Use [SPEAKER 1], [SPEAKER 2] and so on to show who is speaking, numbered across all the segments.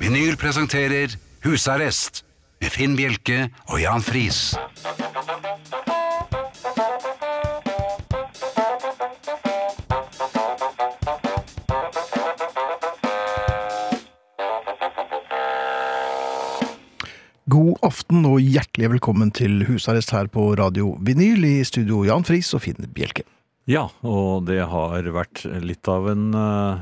[SPEAKER 1] Vinyl presenterer Husarrest med Finn Bjelke og Jan Friis.
[SPEAKER 2] God aften og hjertelig velkommen til husarrest her på Radio Vinyl i studio Jan Friis og Finn Bjelke.
[SPEAKER 3] Ja, og det har vært litt av en eh,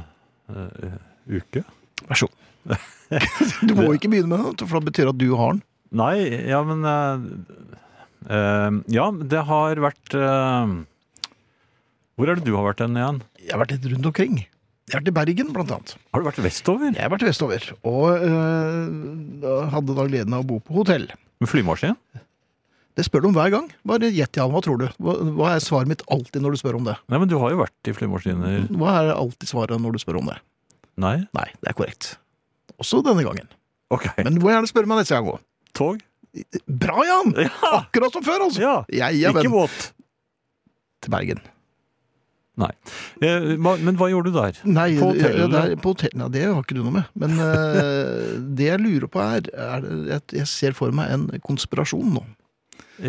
[SPEAKER 3] eh, uke.
[SPEAKER 2] Vær så god. Du må ikke begynne med den, for det betyr at du har den.
[SPEAKER 3] Nei, ja, men eh, eh, Ja, det har vært eh, Hvor er det du har vært hen igjen?
[SPEAKER 2] Jeg har vært litt rundt omkring. Jeg har vært i Bergen, blant annet.
[SPEAKER 3] Har du vært vestover?
[SPEAKER 2] Jeg har vært vestover, og øh, da hadde da gleden av å bo på hotell.
[SPEAKER 3] Med flymaskin?
[SPEAKER 2] Det spør du om hver gang. Bare gjett, Jan, hva tror du? Hva, hva er svaret mitt alltid når du spør om det?
[SPEAKER 3] Nei, men du har jo vært i flymaskiner.
[SPEAKER 2] Hva er alltid svaret når du spør om det?
[SPEAKER 3] Nei?
[SPEAKER 2] Nei, det er korrekt. Også denne gangen.
[SPEAKER 3] Ok.
[SPEAKER 2] Men du må gjerne spørre meg neste gang òg.
[SPEAKER 3] Tog?
[SPEAKER 2] Bra, Jan!
[SPEAKER 3] Ja!
[SPEAKER 2] Akkurat som før, altså!
[SPEAKER 3] ja.
[SPEAKER 2] Jeg er
[SPEAKER 3] Ikke
[SPEAKER 2] venn
[SPEAKER 3] båt.
[SPEAKER 2] til Bergen.
[SPEAKER 3] Nei. Eh, hva- men hva gjorde du der?
[SPEAKER 2] Nei,
[SPEAKER 3] På hotellet?
[SPEAKER 2] ja, det er- på hotell, nei, det har ikke du noe med. Men eh, det jeg lurer på er, er det- at Jeg ser for meg en konspirasjon nå.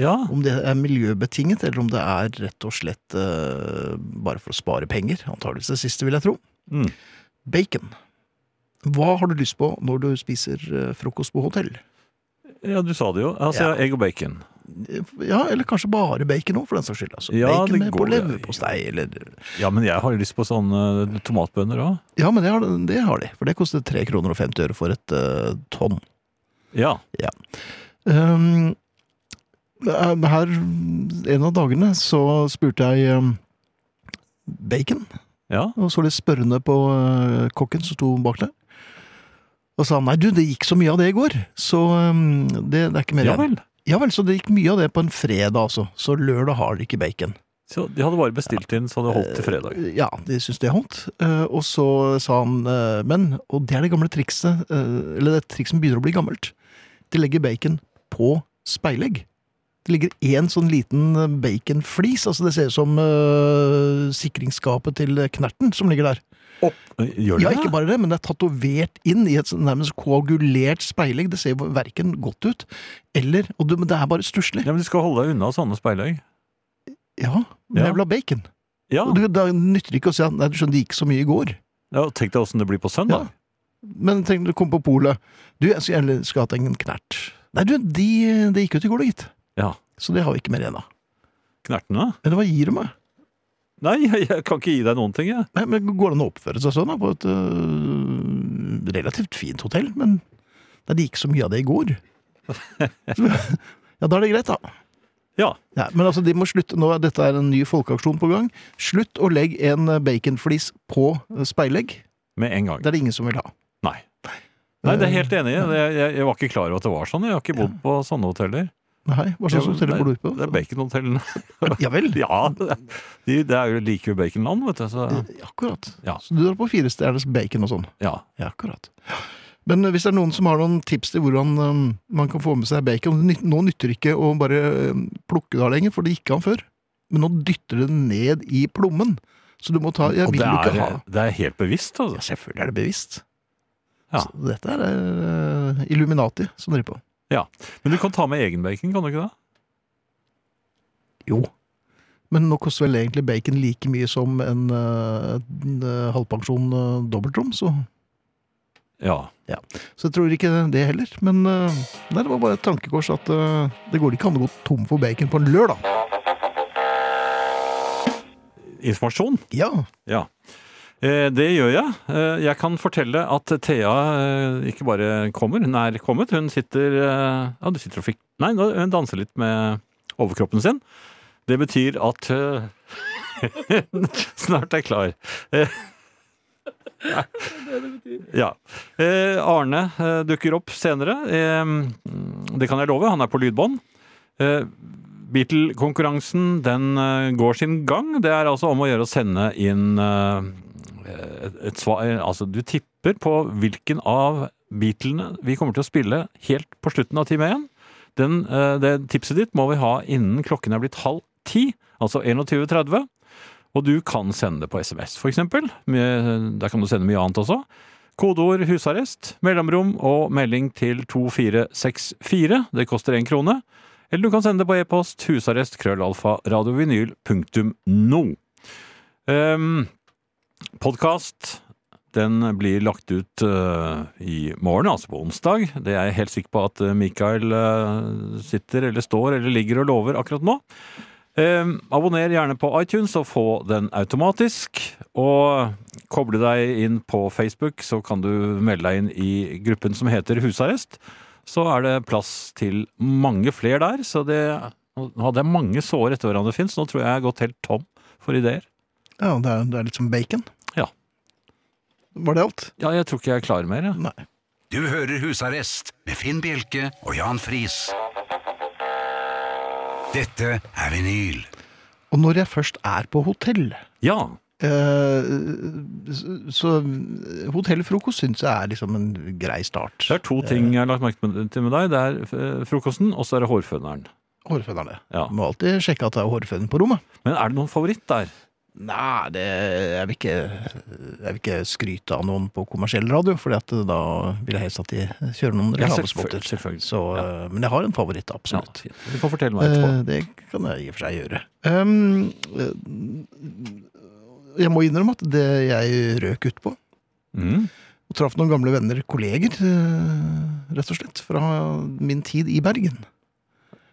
[SPEAKER 3] Ja.
[SPEAKER 2] Om det er miljøbetinget, eller om det er rett og slett eh, bare for å spare penger. Antakeligvis det siste, vil jeg tro.
[SPEAKER 3] Mm.
[SPEAKER 2] Bacon. Hva har du lyst på når du spiser eh, frokost på hotell?
[SPEAKER 3] ja, du sa det jo. Altså,
[SPEAKER 2] Ja.
[SPEAKER 3] egg og bacon.
[SPEAKER 2] Eh, Ja, eller kanskje bare bacon òg, for den saks skyld. Altså.
[SPEAKER 3] Ja,
[SPEAKER 2] bacon
[SPEAKER 3] det
[SPEAKER 2] med på
[SPEAKER 3] går-
[SPEAKER 2] leverpostei, eller
[SPEAKER 3] Ja, men jeg har jo lyst på sånne tomatbønner òg.
[SPEAKER 2] Ja, men det har, det har de. For det koster 3 kroner og 50 øre for et eh, tonn.
[SPEAKER 3] Ja.
[SPEAKER 2] Um, her en av dagene så spurte jeg um, bacon,
[SPEAKER 3] Ja.
[SPEAKER 2] og så litt spørrende på uh, kokken som sto bak der. Og sa han, nei du, det gikk så mye av det i går, så um, det, det er ikke mer
[SPEAKER 3] ja
[SPEAKER 2] igjen.
[SPEAKER 3] vel.
[SPEAKER 2] Ja vel, så det gikk mye av det på en fredag altså. Så lørdag har de ikke bacon.
[SPEAKER 3] Så de hadde bare bestilt inn, så hadde holdt til fredag.
[SPEAKER 2] Eh, Ja, de syntes det holdt. Eh, Og så sa han eh, Men, og det er det gamle trikset eh, Eller det trikset som begynner å bli gammelt. De legger bacon på speilegg. Det ligger én sånn liten baconflis. Altså det ser ut som eh, sikringsskapet til Knerten som ligger der.
[SPEAKER 3] Gjør de
[SPEAKER 2] Ja,
[SPEAKER 3] det?
[SPEAKER 2] ikke bare det, men det er tatovert inn i et sånn nærmest koagulert speilegg. Det ser jo verken godt ut eller Og det, men det er bare stusslig.
[SPEAKER 3] Ja, men Du skal holde deg unna sånne
[SPEAKER 2] Ja,
[SPEAKER 3] speilegg.
[SPEAKER 2] men
[SPEAKER 3] Ja. Ah.
[SPEAKER 2] jeg vil ha bacon.
[SPEAKER 3] Ja,
[SPEAKER 2] Og du, da nytter det ikke å si at nei, du skjønner det gikk så mye i går.
[SPEAKER 3] ja og Tenk deg åssen det blir på søndag.
[SPEAKER 2] Men tenk, du kom på polet. Du, jeg skulle gjerne skulle hatt en knert. Nei, du, de, det gikk ut i går, da, gitt.
[SPEAKER 3] Ja.
[SPEAKER 2] Så det har vi ikke mer igjen av.
[SPEAKER 3] Knertene?
[SPEAKER 2] Eller hva gir du meg?
[SPEAKER 3] Nei, jeg, jeg kan ikke gi deg noen ting, jeg.
[SPEAKER 2] Nei, men Går det an å oppføre seg sånn da, på et øh, relativt fint hotell? Men nei, det gikk så mye av det i går. ja, da er det greit, da.
[SPEAKER 3] Ja.
[SPEAKER 2] Ja, men altså, de må slutte, nå er dette er en ny folkeaksjon på gang. Slutt å legge en øh, baconflis på øh, speilegg.
[SPEAKER 3] Med en gang.
[SPEAKER 2] Det er det ingen som vil ha.
[SPEAKER 3] Nei. Nei, det er jeg helt enig i. Det- Jeg, jeg var ikke klar over at det var sånn. Jeg har ikke bodd på sånne hoteller.
[SPEAKER 2] Nei, Hva slags
[SPEAKER 3] Det-
[SPEAKER 2] hotell bor du på?
[SPEAKER 3] Det er baconhotellene.
[SPEAKER 2] Ja vel.
[SPEAKER 3] Ja, de, det er jo like ved baconland, vet du. Så,
[SPEAKER 2] Akkurat.
[SPEAKER 3] Ja.
[SPEAKER 2] Så du drar på firestjerners bacon og sånn?
[SPEAKER 3] ja.
[SPEAKER 2] Ja, akkurat. Men eh, hvis det er noen som har noen tips til hvordan um, man kan få med seg bacon nyt- Nå nytter det ikke å bare um, plukke det av lenger, for det gikk an før. Men nå dytter det ned i plommen. Så du må ta Jeg
[SPEAKER 3] Og
[SPEAKER 2] vil
[SPEAKER 3] det
[SPEAKER 2] jo ikke ha
[SPEAKER 3] er, eh, det er helt bevisst,
[SPEAKER 2] ja,
[SPEAKER 3] altså.
[SPEAKER 2] Selvfølgelig er det bevisst.
[SPEAKER 3] Ja.
[SPEAKER 2] Så dette er uh, Illuminati som driver på.
[SPEAKER 3] Men du kan ta med egen bacon, kan du ikke det?
[SPEAKER 2] Jo. Men nå koster vel egentlig bacon like mye som en, uh, en uh, halvpensjon uh, dobbeltrom, så,
[SPEAKER 3] Ja.
[SPEAKER 2] så jeg tror ikke det heller. Men uh, nei, det var bare et tankekors at uh, det går ikke an å gå tom for bacon på en lørdag.
[SPEAKER 3] Informasjon?
[SPEAKER 2] Ja.
[SPEAKER 3] Ja. Eh, Det gjør jeg. Eh, Jeg kan fortelle at Thea eh, ikke bare kommer, hun er kommet. Hun sitter eh, Ja, du sitter og fikk Nei, nå- hun danser litt med overkroppen sin. Det betyr at eh, hun snart er klar. Eh, Ja. Eh, Arne eh, dukker opp senere. Eh, mm, Det kan jeg love. Han er på lydbånd. Eh, Beatle-konkurransen den eh, går sin gang. Det er altså om å gjøre å sende inn eh, et, et svar eh, Altså, du tipper på hvilken av Beatlene vi kommer til å spille helt på slutten av time 1. Den, eh, det tipset ditt må vi ha innen klokken er blitt halv ti, altså 21.30. Og du kan sende det på SMS, for eksempel. Med, der kan du sende mye annet også. Kodeord 'husarrest', mellomrom og melding til 2464. Det koster én krone. Eller du kan sende det på e-post husarrest krøllalfa radiovinyl punktum no. Um, Podkast den blir lagt ut eh, i morgen, altså på onsdag. Det er jeg helt sikker på at eh, Mikael eh, sitter eller står eller ligger og lover akkurat nå. Eh, abonner gjerne på iTunes og få den automatisk. Og koble deg inn på Facebook, så kan du melde deg inn i gruppen som heter Husarrest. Så er det plass til mange flere der. Så det Nå hadde jeg mange sår etter hverandre, Finn, så nå tror jeg jeg har gått helt tom for ideer.
[SPEAKER 2] Ja, det er, det er litt som bacon.
[SPEAKER 3] Ja.
[SPEAKER 2] Var det alt?
[SPEAKER 3] Ja, jeg tror ikke jeg klarer mer, jeg.
[SPEAKER 2] Nei.
[SPEAKER 1] Du hører Husarrest med Finn Bjelke og Jan Friis. Dette er vinyl.
[SPEAKER 2] Og når jeg først er på hotell
[SPEAKER 3] Ja.
[SPEAKER 2] eh, så- Så hotellfrokost syns jeg er liksom en grei start.
[SPEAKER 3] Det er to ting jeg har lagt merke med- til med deg. Det er eh, frokosten, og så er det hårføneren.
[SPEAKER 2] Hårfønerne.
[SPEAKER 3] Ja.
[SPEAKER 2] Må alltid sjekke at det er hårføn på rommet.
[SPEAKER 3] Men er det noen favoritt der?
[SPEAKER 2] Nei, det, jeg, vil ikke, jeg vil ikke skryte av noen på kommersiell radio, for da vil jeg helst at de kjører noen
[SPEAKER 3] Ja,
[SPEAKER 2] reklamespotter.
[SPEAKER 3] selvfø- selvfølgelig.
[SPEAKER 2] Så, eh, Men jeg har en favoritt,
[SPEAKER 3] Ja,
[SPEAKER 2] absolutt.
[SPEAKER 3] du kan fortelle meg etterpå.
[SPEAKER 2] Eh, det kan jeg i og for seg gjøre. Um, eh, jeg må innrømme at det jeg røk ut på,
[SPEAKER 3] Mm.
[SPEAKER 2] og traff noen gamle venner, kolleger, eh, rett og slett, fra min tid i Bergen.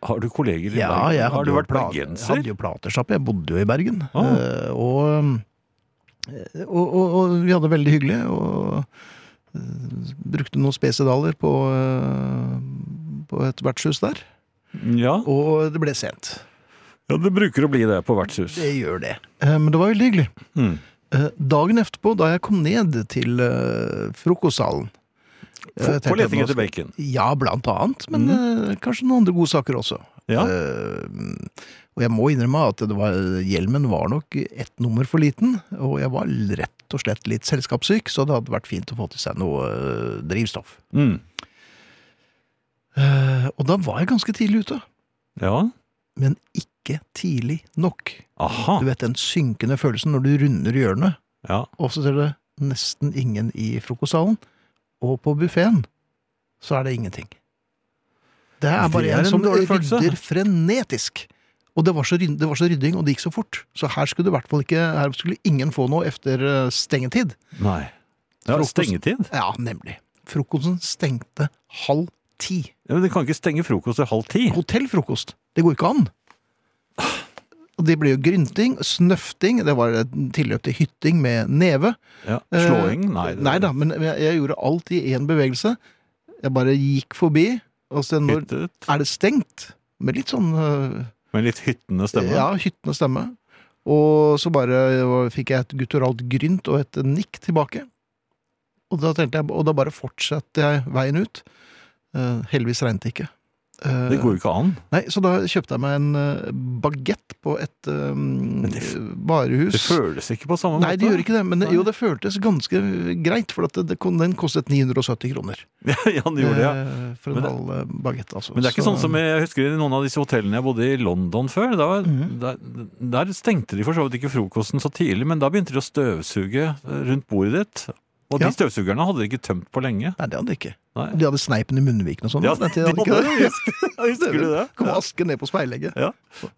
[SPEAKER 3] Har du kolleger i
[SPEAKER 2] Ja,
[SPEAKER 3] Bergen?
[SPEAKER 2] jeg hadde
[SPEAKER 3] Har du
[SPEAKER 2] jo
[SPEAKER 3] vært
[SPEAKER 2] pla- Jeg
[SPEAKER 3] bergenser?
[SPEAKER 2] hadde jo platesjappe, jeg bodde jo i Bergen.
[SPEAKER 3] Ah.
[SPEAKER 2] Eh, og, eh, og, og, og vi hadde det veldig hyggelig, og eh, brukte noen spesidaler på, eh, på et vertshus der.
[SPEAKER 3] Ja.
[SPEAKER 2] Og det ble sent.
[SPEAKER 3] ja, det bruker å bli det på vertshus.
[SPEAKER 2] Det gjør det. Eh, men det var veldig hyggelig.
[SPEAKER 3] Mm.
[SPEAKER 2] Eh, dagen etterpå, da jeg kom ned til eh, frokostsalen
[SPEAKER 3] På-
[SPEAKER 2] jeg tenkte
[SPEAKER 3] På
[SPEAKER 2] at nå
[SPEAKER 3] leting etter
[SPEAKER 2] skal-
[SPEAKER 3] bacon.
[SPEAKER 2] Ja, blant annet, men eh, kanskje noen andre gode saker også.
[SPEAKER 3] Ja.
[SPEAKER 2] Eh, og jeg må innrømme at det var, hjelmen var nok ett nummer for liten, og jeg var rett og slett litt selskapssyk, så det hadde vært fint å få til seg noe eh, drivstoff.
[SPEAKER 3] Mm.
[SPEAKER 2] Eh, og da var jeg ganske tidlig ute,
[SPEAKER 3] Ja.
[SPEAKER 2] men ikke tidlig nok.
[SPEAKER 3] Aha.
[SPEAKER 2] Du vet den synkende følelsen når du runder hjørnet,
[SPEAKER 3] Ja.
[SPEAKER 2] og så ser du nesten ingen i frokostsalen, og på buffeen så er det ingenting. Det er
[SPEAKER 3] Det
[SPEAKER 2] bare en
[SPEAKER 3] er en
[SPEAKER 2] som
[SPEAKER 3] dårlig følelse.
[SPEAKER 2] rydder frenetisk. Og det var, så, ryd- det var så rydding, og det gikk så fort. Så her skulle det i hvert fall ikke, her skulle ingen få noe efter eh, stengetid.
[SPEAKER 3] Nei. Ja,
[SPEAKER 2] Frokost.
[SPEAKER 3] stengetid?
[SPEAKER 2] Ja, nemlig. Frokosten stengte halv ti.
[SPEAKER 3] Ja, men De kan ikke stenge frokost til halv ti.
[SPEAKER 2] Hotellfrokost. Det går ikke an. Og det ble jo grynting, snøfting, det var et tilløp til hytting med neve.
[SPEAKER 3] Ja.
[SPEAKER 2] Eh,
[SPEAKER 3] Slåing? Nei. det-
[SPEAKER 2] Nei da, men jeg, jeg gjorde alt i én bevegelse. Jeg bare gikk forbi, og så når
[SPEAKER 3] Hyttet.
[SPEAKER 2] er det stengt? Med litt sånn øh,
[SPEAKER 3] Med litt hyttende stemme.
[SPEAKER 2] Ja, hyttende stemme. Og så bare øh, fikk jeg et gutturalt grynt og et nikk tilbake. Og da, tenkte jeg, og da bare fortsatte jeg veien ut. Eh, heldigvis regnet det ikke. Eh,
[SPEAKER 3] Det går jo ikke an.
[SPEAKER 2] Nei, Så da kjøpte jeg meg en uh, bagett på et øh,
[SPEAKER 3] det f-
[SPEAKER 2] varehus.
[SPEAKER 3] Det føles ikke på samme
[SPEAKER 2] Nei,
[SPEAKER 3] måte.
[SPEAKER 2] det gjør ikke det, men det,
[SPEAKER 3] Nei.
[SPEAKER 2] jo, det føltes ganske greit, for at det, det, kon- den kostet 970 kroner.
[SPEAKER 3] ja, det gjorde det. Ja.
[SPEAKER 2] Eh, For
[SPEAKER 3] Men
[SPEAKER 2] en
[SPEAKER 3] det-
[SPEAKER 2] halv eh, bagett, altså.
[SPEAKER 3] Men det er ikke
[SPEAKER 2] Så-
[SPEAKER 3] sånn som jeg, jeg husker i noen av disse hotellene jeg bodde i London før. Da,
[SPEAKER 2] Mhm.
[SPEAKER 3] der, der stengte de for så vidt ikke frokosten så tidlig, men da begynte de å støvsuge eh, rundt bordet ditt. Og de
[SPEAKER 2] Ja.
[SPEAKER 3] støvsugerne hadde de ikke tømt på lenge.
[SPEAKER 2] Nei, det hadde de ikke.
[SPEAKER 3] Nei.
[SPEAKER 2] De hadde sneipen i munnviken og sånn.
[SPEAKER 3] Ja,
[SPEAKER 2] på den
[SPEAKER 3] de
[SPEAKER 2] tiden, hadde de ikke
[SPEAKER 3] hadde det, husker- Husker du det?
[SPEAKER 2] Kom aske ned på speilegget.
[SPEAKER 3] Ja.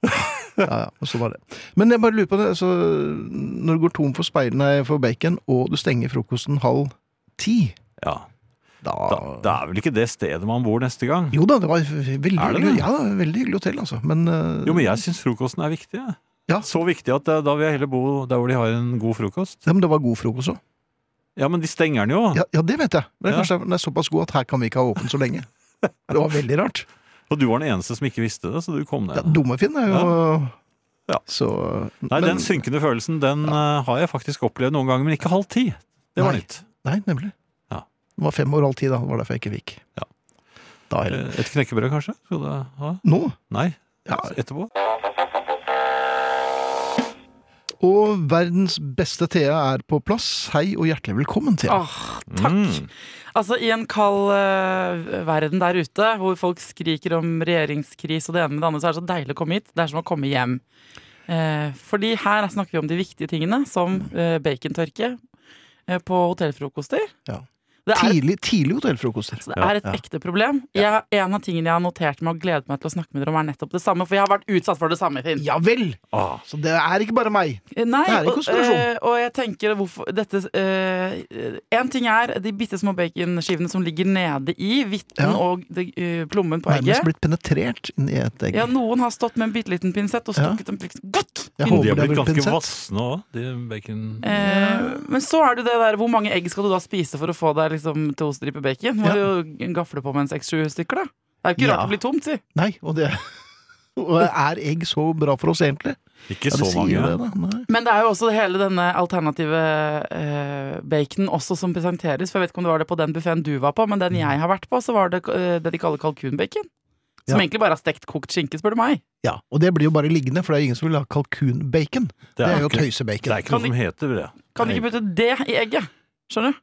[SPEAKER 2] Ja, ja, men så var det. Men jeg bare lurer på det, så når du går tom for speil, nei, for bacon, og du stenger frokosten halv ti,
[SPEAKER 3] Ja.
[SPEAKER 2] da,
[SPEAKER 3] Da, det er vel ikke det stedet man bor neste gang.
[SPEAKER 2] Jo da, det var veldig
[SPEAKER 3] Er det
[SPEAKER 2] hyggelig.
[SPEAKER 3] det?
[SPEAKER 2] Ja, da, veldig hyggelig hotell, altså. Men, eh,
[SPEAKER 3] Jo, men jeg syns frokosten er viktig. jeg.
[SPEAKER 2] Ja.
[SPEAKER 3] Så viktig at eh, da vil jeg heller bo der hvor de har en god frokost.
[SPEAKER 2] ja, men det var god frokost òg.
[SPEAKER 3] Ja, men de stenger den jo.
[SPEAKER 2] Ja, ja, det vet jeg. Men det er
[SPEAKER 3] Ja.
[SPEAKER 2] kanskje den er såpass god at her kan vi ikke ha åpen så lenge. Det var veldig rart.
[SPEAKER 3] Og du var den eneste som ikke visste det, så du kom ned.
[SPEAKER 2] Ja, Dummefinn er jo
[SPEAKER 3] Ja.
[SPEAKER 2] Så
[SPEAKER 3] Nei,
[SPEAKER 2] men-
[SPEAKER 3] den synkende følelsen den eh, har jeg faktisk opplevd noen ganger, men ikke halv ti. Det var
[SPEAKER 2] Nei.
[SPEAKER 3] nytt.
[SPEAKER 2] Nei, nemlig.
[SPEAKER 3] Ja.
[SPEAKER 2] Det var fem år halv ti, da. Det var derfor jeg ikke fikk.
[SPEAKER 3] Ja.
[SPEAKER 2] Da
[SPEAKER 3] Eh,
[SPEAKER 2] heller.
[SPEAKER 3] Et knekkebrød, kanskje? Skal du ha?
[SPEAKER 2] Nå?
[SPEAKER 3] Nei,
[SPEAKER 2] Ja.
[SPEAKER 3] etterpå?
[SPEAKER 2] Og verdens beste Thea er på plass. Hei og hjertelig velkommen, Thea.
[SPEAKER 4] Åh, takk.
[SPEAKER 3] Mm.
[SPEAKER 4] Altså, i en kald eh, verden der ute, hvor folk skriker om regjeringskris og det ene med det andre, så er det så deilig å komme hit. Det er som å komme hjem. Eh, fordi her snakker vi om de viktige tingene, som eh, bacontørke eh, på hotellfrokoster.
[SPEAKER 2] Ja.
[SPEAKER 4] Det er,
[SPEAKER 2] Tidlig, tidlig hotellfrokoster.
[SPEAKER 4] så det er et
[SPEAKER 2] Ja.
[SPEAKER 4] ekte problem. Jeg, en av tingene jeg har notert meg og gledet meg til å snakke med dere om, er nettopp det samme. For jeg har vært utsatt for det samme, Finn.
[SPEAKER 2] Ja vel!
[SPEAKER 3] Ah.
[SPEAKER 2] Så det er ikke bare meg.
[SPEAKER 4] Eh, Nei,
[SPEAKER 2] Det er en
[SPEAKER 4] og,
[SPEAKER 2] konspirasjon.
[SPEAKER 4] eh, og jeg tenker hvorfor dette eh, En ting er de bitte små baconskivene som ligger nede i hvitten
[SPEAKER 2] Ja.
[SPEAKER 4] og det, eh, plommen på egget.
[SPEAKER 2] Nærmest blitt penetrert inn i et egg.
[SPEAKER 4] Ja, noen har stått med en bitte liten pinsett og
[SPEAKER 2] Ja.
[SPEAKER 4] stukket en pinsett Godt!
[SPEAKER 2] Jeg
[SPEAKER 3] De
[SPEAKER 2] håper
[SPEAKER 3] har
[SPEAKER 2] det er
[SPEAKER 3] blitt
[SPEAKER 2] vel
[SPEAKER 3] ganske
[SPEAKER 2] pinsett.
[SPEAKER 3] vassende òg, de bacon...
[SPEAKER 4] Eh, men så er det det der Hvor mange egg skal du da spise for å få deg liksom, to striper bacon? Må
[SPEAKER 2] Ja.
[SPEAKER 4] jo gafle på med en seks-sju stykker, da. Det er jo ikke
[SPEAKER 2] Ja.
[SPEAKER 4] rart det blir tomt, si.
[SPEAKER 2] Nei, og det og er egg så bra for oss, egentlig?
[SPEAKER 3] Ikke
[SPEAKER 2] Ja,
[SPEAKER 3] så
[SPEAKER 2] det sier
[SPEAKER 3] mange.
[SPEAKER 2] jo
[SPEAKER 3] ja.
[SPEAKER 2] det, da. Nei.
[SPEAKER 4] Men det er jo også hele denne alternative eh, baconen også som presenteres. For jeg vet ikke om det var det på den buffeen du var på, men den jeg har vært på, så var det eh, det de kaller kalkunbacon. Som
[SPEAKER 2] Ja.
[SPEAKER 4] egentlig bare er stekt kokt skinke, spør du meg.
[SPEAKER 2] Ja, og det blir jo bare liggende, for det er jo ingen som vil ha kalkunbacon. Det er jo
[SPEAKER 3] ikke, det
[SPEAKER 2] tøysebacon.
[SPEAKER 3] er ikke noe som heter det.
[SPEAKER 4] Kan de
[SPEAKER 3] Nei.
[SPEAKER 4] ikke putte det i egget? Skjønner du?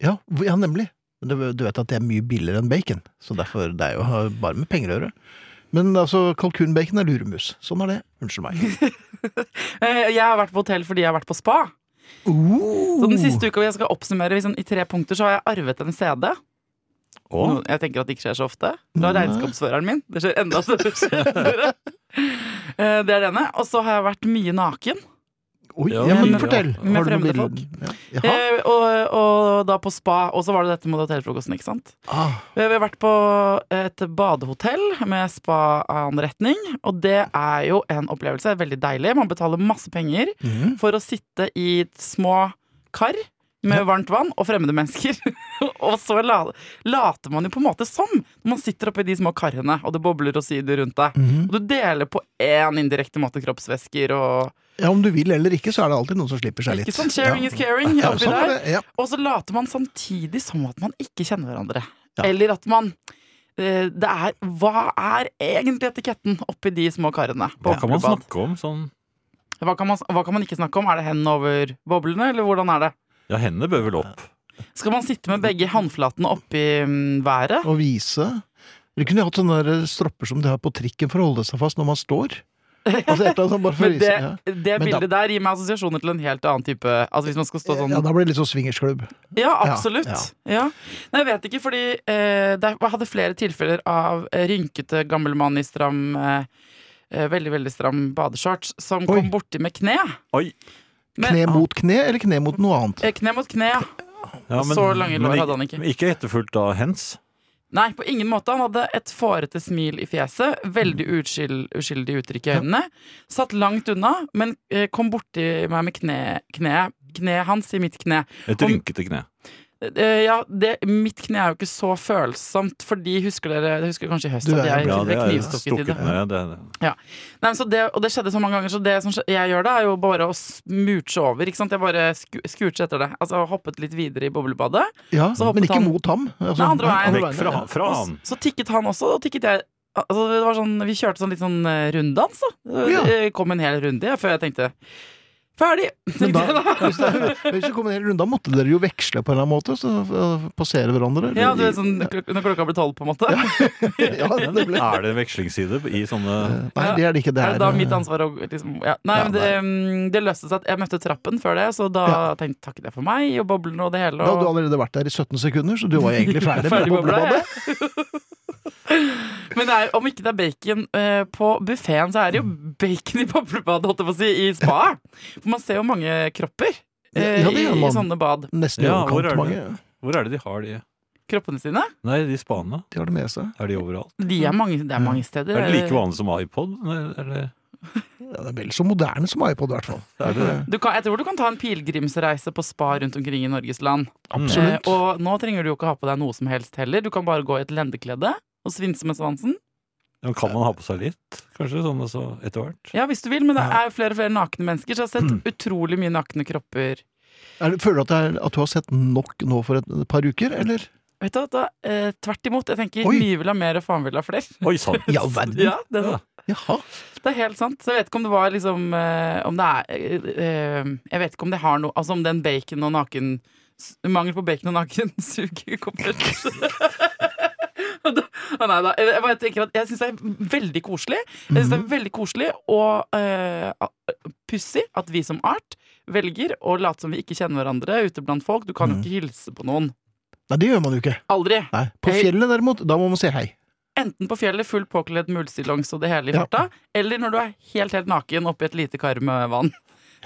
[SPEAKER 2] Ja, hvor- ja, nemlig. Men det- Du vet at det er mye billigere enn bacon, så derfor det er jo bare med penger å gjøre. Men altså, kalkunbacon er luremus. Sånn er det. Unnskyld meg.
[SPEAKER 4] Eh, jeg har vært på hotell fordi jeg har vært på spa. Så
[SPEAKER 2] Uh.
[SPEAKER 4] den siste uka hvor jeg skal oppsummere i sånn- i tre punkter, så har jeg arvet en CD.
[SPEAKER 3] Å,
[SPEAKER 4] Noe- Jeg tenker at det ikke skjer så ofte. Fra
[SPEAKER 2] Nei.
[SPEAKER 4] regnskapsføreren min. Det skjer enda større skjer. Eh, Det er det ene. Og så har jeg vært mye naken.
[SPEAKER 2] Oi,
[SPEAKER 3] Ja,
[SPEAKER 2] ja, men
[SPEAKER 4] ja.
[SPEAKER 2] fortell.
[SPEAKER 4] Med
[SPEAKER 2] Har du noen
[SPEAKER 4] fremmede
[SPEAKER 2] bilder? Ja. Jaha.
[SPEAKER 4] Eh, Og, og da på spa. Og så var det dette med hotellfrokosten, ikke sant.
[SPEAKER 2] Ah,
[SPEAKER 4] Vi har vært på et badehotell med spaanretning, og det er jo en opplevelse. Det er veldig deilig. Man betaler masse penger
[SPEAKER 2] mhm.
[SPEAKER 4] for å sitte i små kar med varmt vann og fremmede mennesker. og så la, later man jo på en måte som når man sitter oppi de små karene, og det bobler og syder rundt deg.
[SPEAKER 2] Mhm.
[SPEAKER 4] Og du deler på én indirekte måte kroppsvæsker og
[SPEAKER 2] Ja, om du vil eller ikke, så er det alltid noen som slipper seg litt.
[SPEAKER 4] Ikke sånn sharing
[SPEAKER 2] ja.
[SPEAKER 4] is caring
[SPEAKER 2] Ja,
[SPEAKER 4] oppi
[SPEAKER 2] sånn er
[SPEAKER 4] der.
[SPEAKER 2] det. Ja.
[SPEAKER 4] Og så later man samtidig som at man ikke kjenner hverandre.
[SPEAKER 2] Ja.
[SPEAKER 4] Eller at man eh, det er, Hva er egentlig etiketten oppi de små karene? på
[SPEAKER 3] Hva kan man
[SPEAKER 4] ordentlig bad?
[SPEAKER 3] snakke om sånn?
[SPEAKER 4] hva kan, man, hva kan man ikke snakke om? Er det hendene over boblene, eller hvordan er det?
[SPEAKER 3] Ja, hendene bør vel opp.
[SPEAKER 4] Skal man sitte med begge håndflatene oppi mm, været?
[SPEAKER 2] Og vise. Dere kunne jo hatt sånne der stropper som de har på trikken for å holde seg fast når man står. Altså et eller annet sånt bare for å
[SPEAKER 4] Men
[SPEAKER 2] vise.
[SPEAKER 4] det,
[SPEAKER 2] ja.
[SPEAKER 4] det
[SPEAKER 2] Men da-
[SPEAKER 4] bildet der gir meg assosiasjoner til en helt annen type Altså hvis man skal stå sånn
[SPEAKER 2] Ja, da blir det litt sånn swingersklubb.
[SPEAKER 4] Ja,
[SPEAKER 2] Ja,
[SPEAKER 4] absolutt. Ja, Nei, jeg vet ikke, fordi eh, det, jeg hadde flere tilfeller av eh, rynkete gammel mann i stram eh, eh, Veldig, veldig stram badeshorts som
[SPEAKER 2] Oi.
[SPEAKER 4] kom borti med kne.
[SPEAKER 3] Oi.
[SPEAKER 4] Men-
[SPEAKER 2] Kne mot kne, eller kne mot noe annet?
[SPEAKER 4] Eh, kne mot kne, ja.
[SPEAKER 3] Ja,
[SPEAKER 4] Så lange lår
[SPEAKER 3] men
[SPEAKER 4] hadde han ikke.
[SPEAKER 3] men Ikke etterfulgt av hens.
[SPEAKER 4] Nei, på ingen måte. Han hadde et fårete smil i fjeset. Veldig
[SPEAKER 2] Mm.
[SPEAKER 4] uskyld, uskyldig uttrykk i øynene. Satt langt unna, men eh, kom borti meg med kne, kneet. Kneet hans i mitt kne.
[SPEAKER 3] Et
[SPEAKER 4] Om-
[SPEAKER 3] rynkete kne.
[SPEAKER 4] Eh, ja, det, mitt kne er jo ikke så følsomt, fordi husker dere jeg husker kanskje i høst
[SPEAKER 2] Du
[SPEAKER 4] at
[SPEAKER 2] er-
[SPEAKER 4] jeg
[SPEAKER 2] Ja,
[SPEAKER 4] ble
[SPEAKER 3] er
[SPEAKER 4] knivstukket i det.
[SPEAKER 3] stukket ned. Det, det.
[SPEAKER 4] Nei, men så det, og det skjedde så mange ganger, så det som skje- jeg gjør da, er jo bare å smurche over. Ikke sant? Jeg bare sku, skurte etter det. Altså hoppet litt videre i boblebadet.
[SPEAKER 2] Ja,
[SPEAKER 4] Så hoppet
[SPEAKER 2] men ikke
[SPEAKER 4] han-
[SPEAKER 2] mot ham. Altså,
[SPEAKER 4] Nei, andre veien.
[SPEAKER 3] Vekk fra,
[SPEAKER 2] ja.
[SPEAKER 3] fra
[SPEAKER 4] Og
[SPEAKER 3] han.
[SPEAKER 4] s- så tikket han også, og tikket jeg. Altså, det var sånn, vi kjørte sånn litt sånn eh, runddans, da. Det
[SPEAKER 2] Ja.
[SPEAKER 4] eh, kom en hel runde ja, før jeg tenkte Ferdig!
[SPEAKER 2] Men da,
[SPEAKER 4] tenkte jeg da.
[SPEAKER 2] hvis, det, men hvis det kom en hel runde, da måtte dere jo veksle på en eller annen måte. Så uh, passere hverandre.
[SPEAKER 4] Ja, du vet sånn klok når klokka ble tolv, på en måte.
[SPEAKER 2] ja, det ble.
[SPEAKER 3] Er det vekslingsside i sånne
[SPEAKER 2] Nei, det er det ikke. Det
[SPEAKER 4] Er det da
[SPEAKER 2] er,
[SPEAKER 4] mitt
[SPEAKER 2] uh,
[SPEAKER 4] ansvar å liksom ja. Nei,
[SPEAKER 2] Ja,
[SPEAKER 4] men det, mm, det løste seg at jeg møtte trappen før det, så da tenkte takket jeg for meg, og boblene og det hele.
[SPEAKER 2] Da hadde du
[SPEAKER 4] Og...
[SPEAKER 2] allerede vært der i 17 sekunder, så du var jo egentlig ferdig med
[SPEAKER 4] Ferdig med
[SPEAKER 2] boblebadet.
[SPEAKER 4] Men det er, om ikke det er bacon eh, på buffeen, så er det jo bacon i boblebadet, holdt jeg på å si, i spa. For man ser jo mange kropper eh,
[SPEAKER 2] Ja, det
[SPEAKER 4] i,
[SPEAKER 2] gjør
[SPEAKER 4] i
[SPEAKER 2] man.
[SPEAKER 4] sånne bad.
[SPEAKER 2] Nesten i
[SPEAKER 3] Ja, hvor er
[SPEAKER 2] overkant
[SPEAKER 3] det?
[SPEAKER 2] mange.
[SPEAKER 3] Hvor er det de har de?
[SPEAKER 4] Kroppene sine.
[SPEAKER 3] Nei, de spanene.
[SPEAKER 2] De har det med seg.
[SPEAKER 3] Er de overalt?
[SPEAKER 4] De er mange,
[SPEAKER 2] Mm.
[SPEAKER 4] det er mange steder.
[SPEAKER 3] Er det like vanlig som iPod? Nei, Eller?
[SPEAKER 2] Ja, det er vel så moderne som iPod, i hvert fall.
[SPEAKER 3] Er det det?
[SPEAKER 4] Du kan, jeg tror du kan ta en pilegrimsreise på spa rundt omkring i Norges land. Eh,
[SPEAKER 2] Absolutt.
[SPEAKER 4] og nå trenger du jo ikke ha på deg noe som helst heller. Du kan bare gå i et lendeklede og svinse med svansen.
[SPEAKER 3] Ja, kan man ha på seg litt? Kanskje sånn altså, etter hvert?
[SPEAKER 4] Ja, hvis du vil, men det er jo flere og flere nakne mennesker, så jeg har
[SPEAKER 2] Mm.
[SPEAKER 4] sett utrolig mye nakne kropper.
[SPEAKER 2] Er det, føler du at, det er, at du har sett nok nå for et par uker, eller?
[SPEAKER 4] Vet du hva, da, eh, Tvert imot. Jeg tenker
[SPEAKER 2] Oi.
[SPEAKER 4] mye vil ha mer, og faen vil ha flere.
[SPEAKER 3] Oi sann!
[SPEAKER 2] Ja, verden.
[SPEAKER 4] Ja, det,
[SPEAKER 3] Ja.
[SPEAKER 2] Jaha.
[SPEAKER 4] det er helt sant. Så jeg vet ikke om det var liksom eh, Om det er eh, eh, Jeg vet ikke om det har noe Altså om den bacon og naken Mangel på bacon og naken suger komplett. Og da- å Nei da. Jeg, bare tenker at jeg syns det er veldig koselig. Jeg synes det er veldig koselig og eh, a- pussig at vi som art velger å late som vi ikke kjenner hverandre ute blant folk. Du kan jo
[SPEAKER 2] Mhm.
[SPEAKER 4] ikke hilse på noen.
[SPEAKER 2] Nei, det gjør man jo ikke.
[SPEAKER 4] Aldri.
[SPEAKER 2] Nei. På
[SPEAKER 4] Hei.
[SPEAKER 2] fjellet, derimot, da må man si hei.
[SPEAKER 4] Enten på fjellet, full påkledd mulestillongs og det hele i
[SPEAKER 2] Ja.
[SPEAKER 4] farta, eller når du er helt helt naken oppi et lite kar med vann.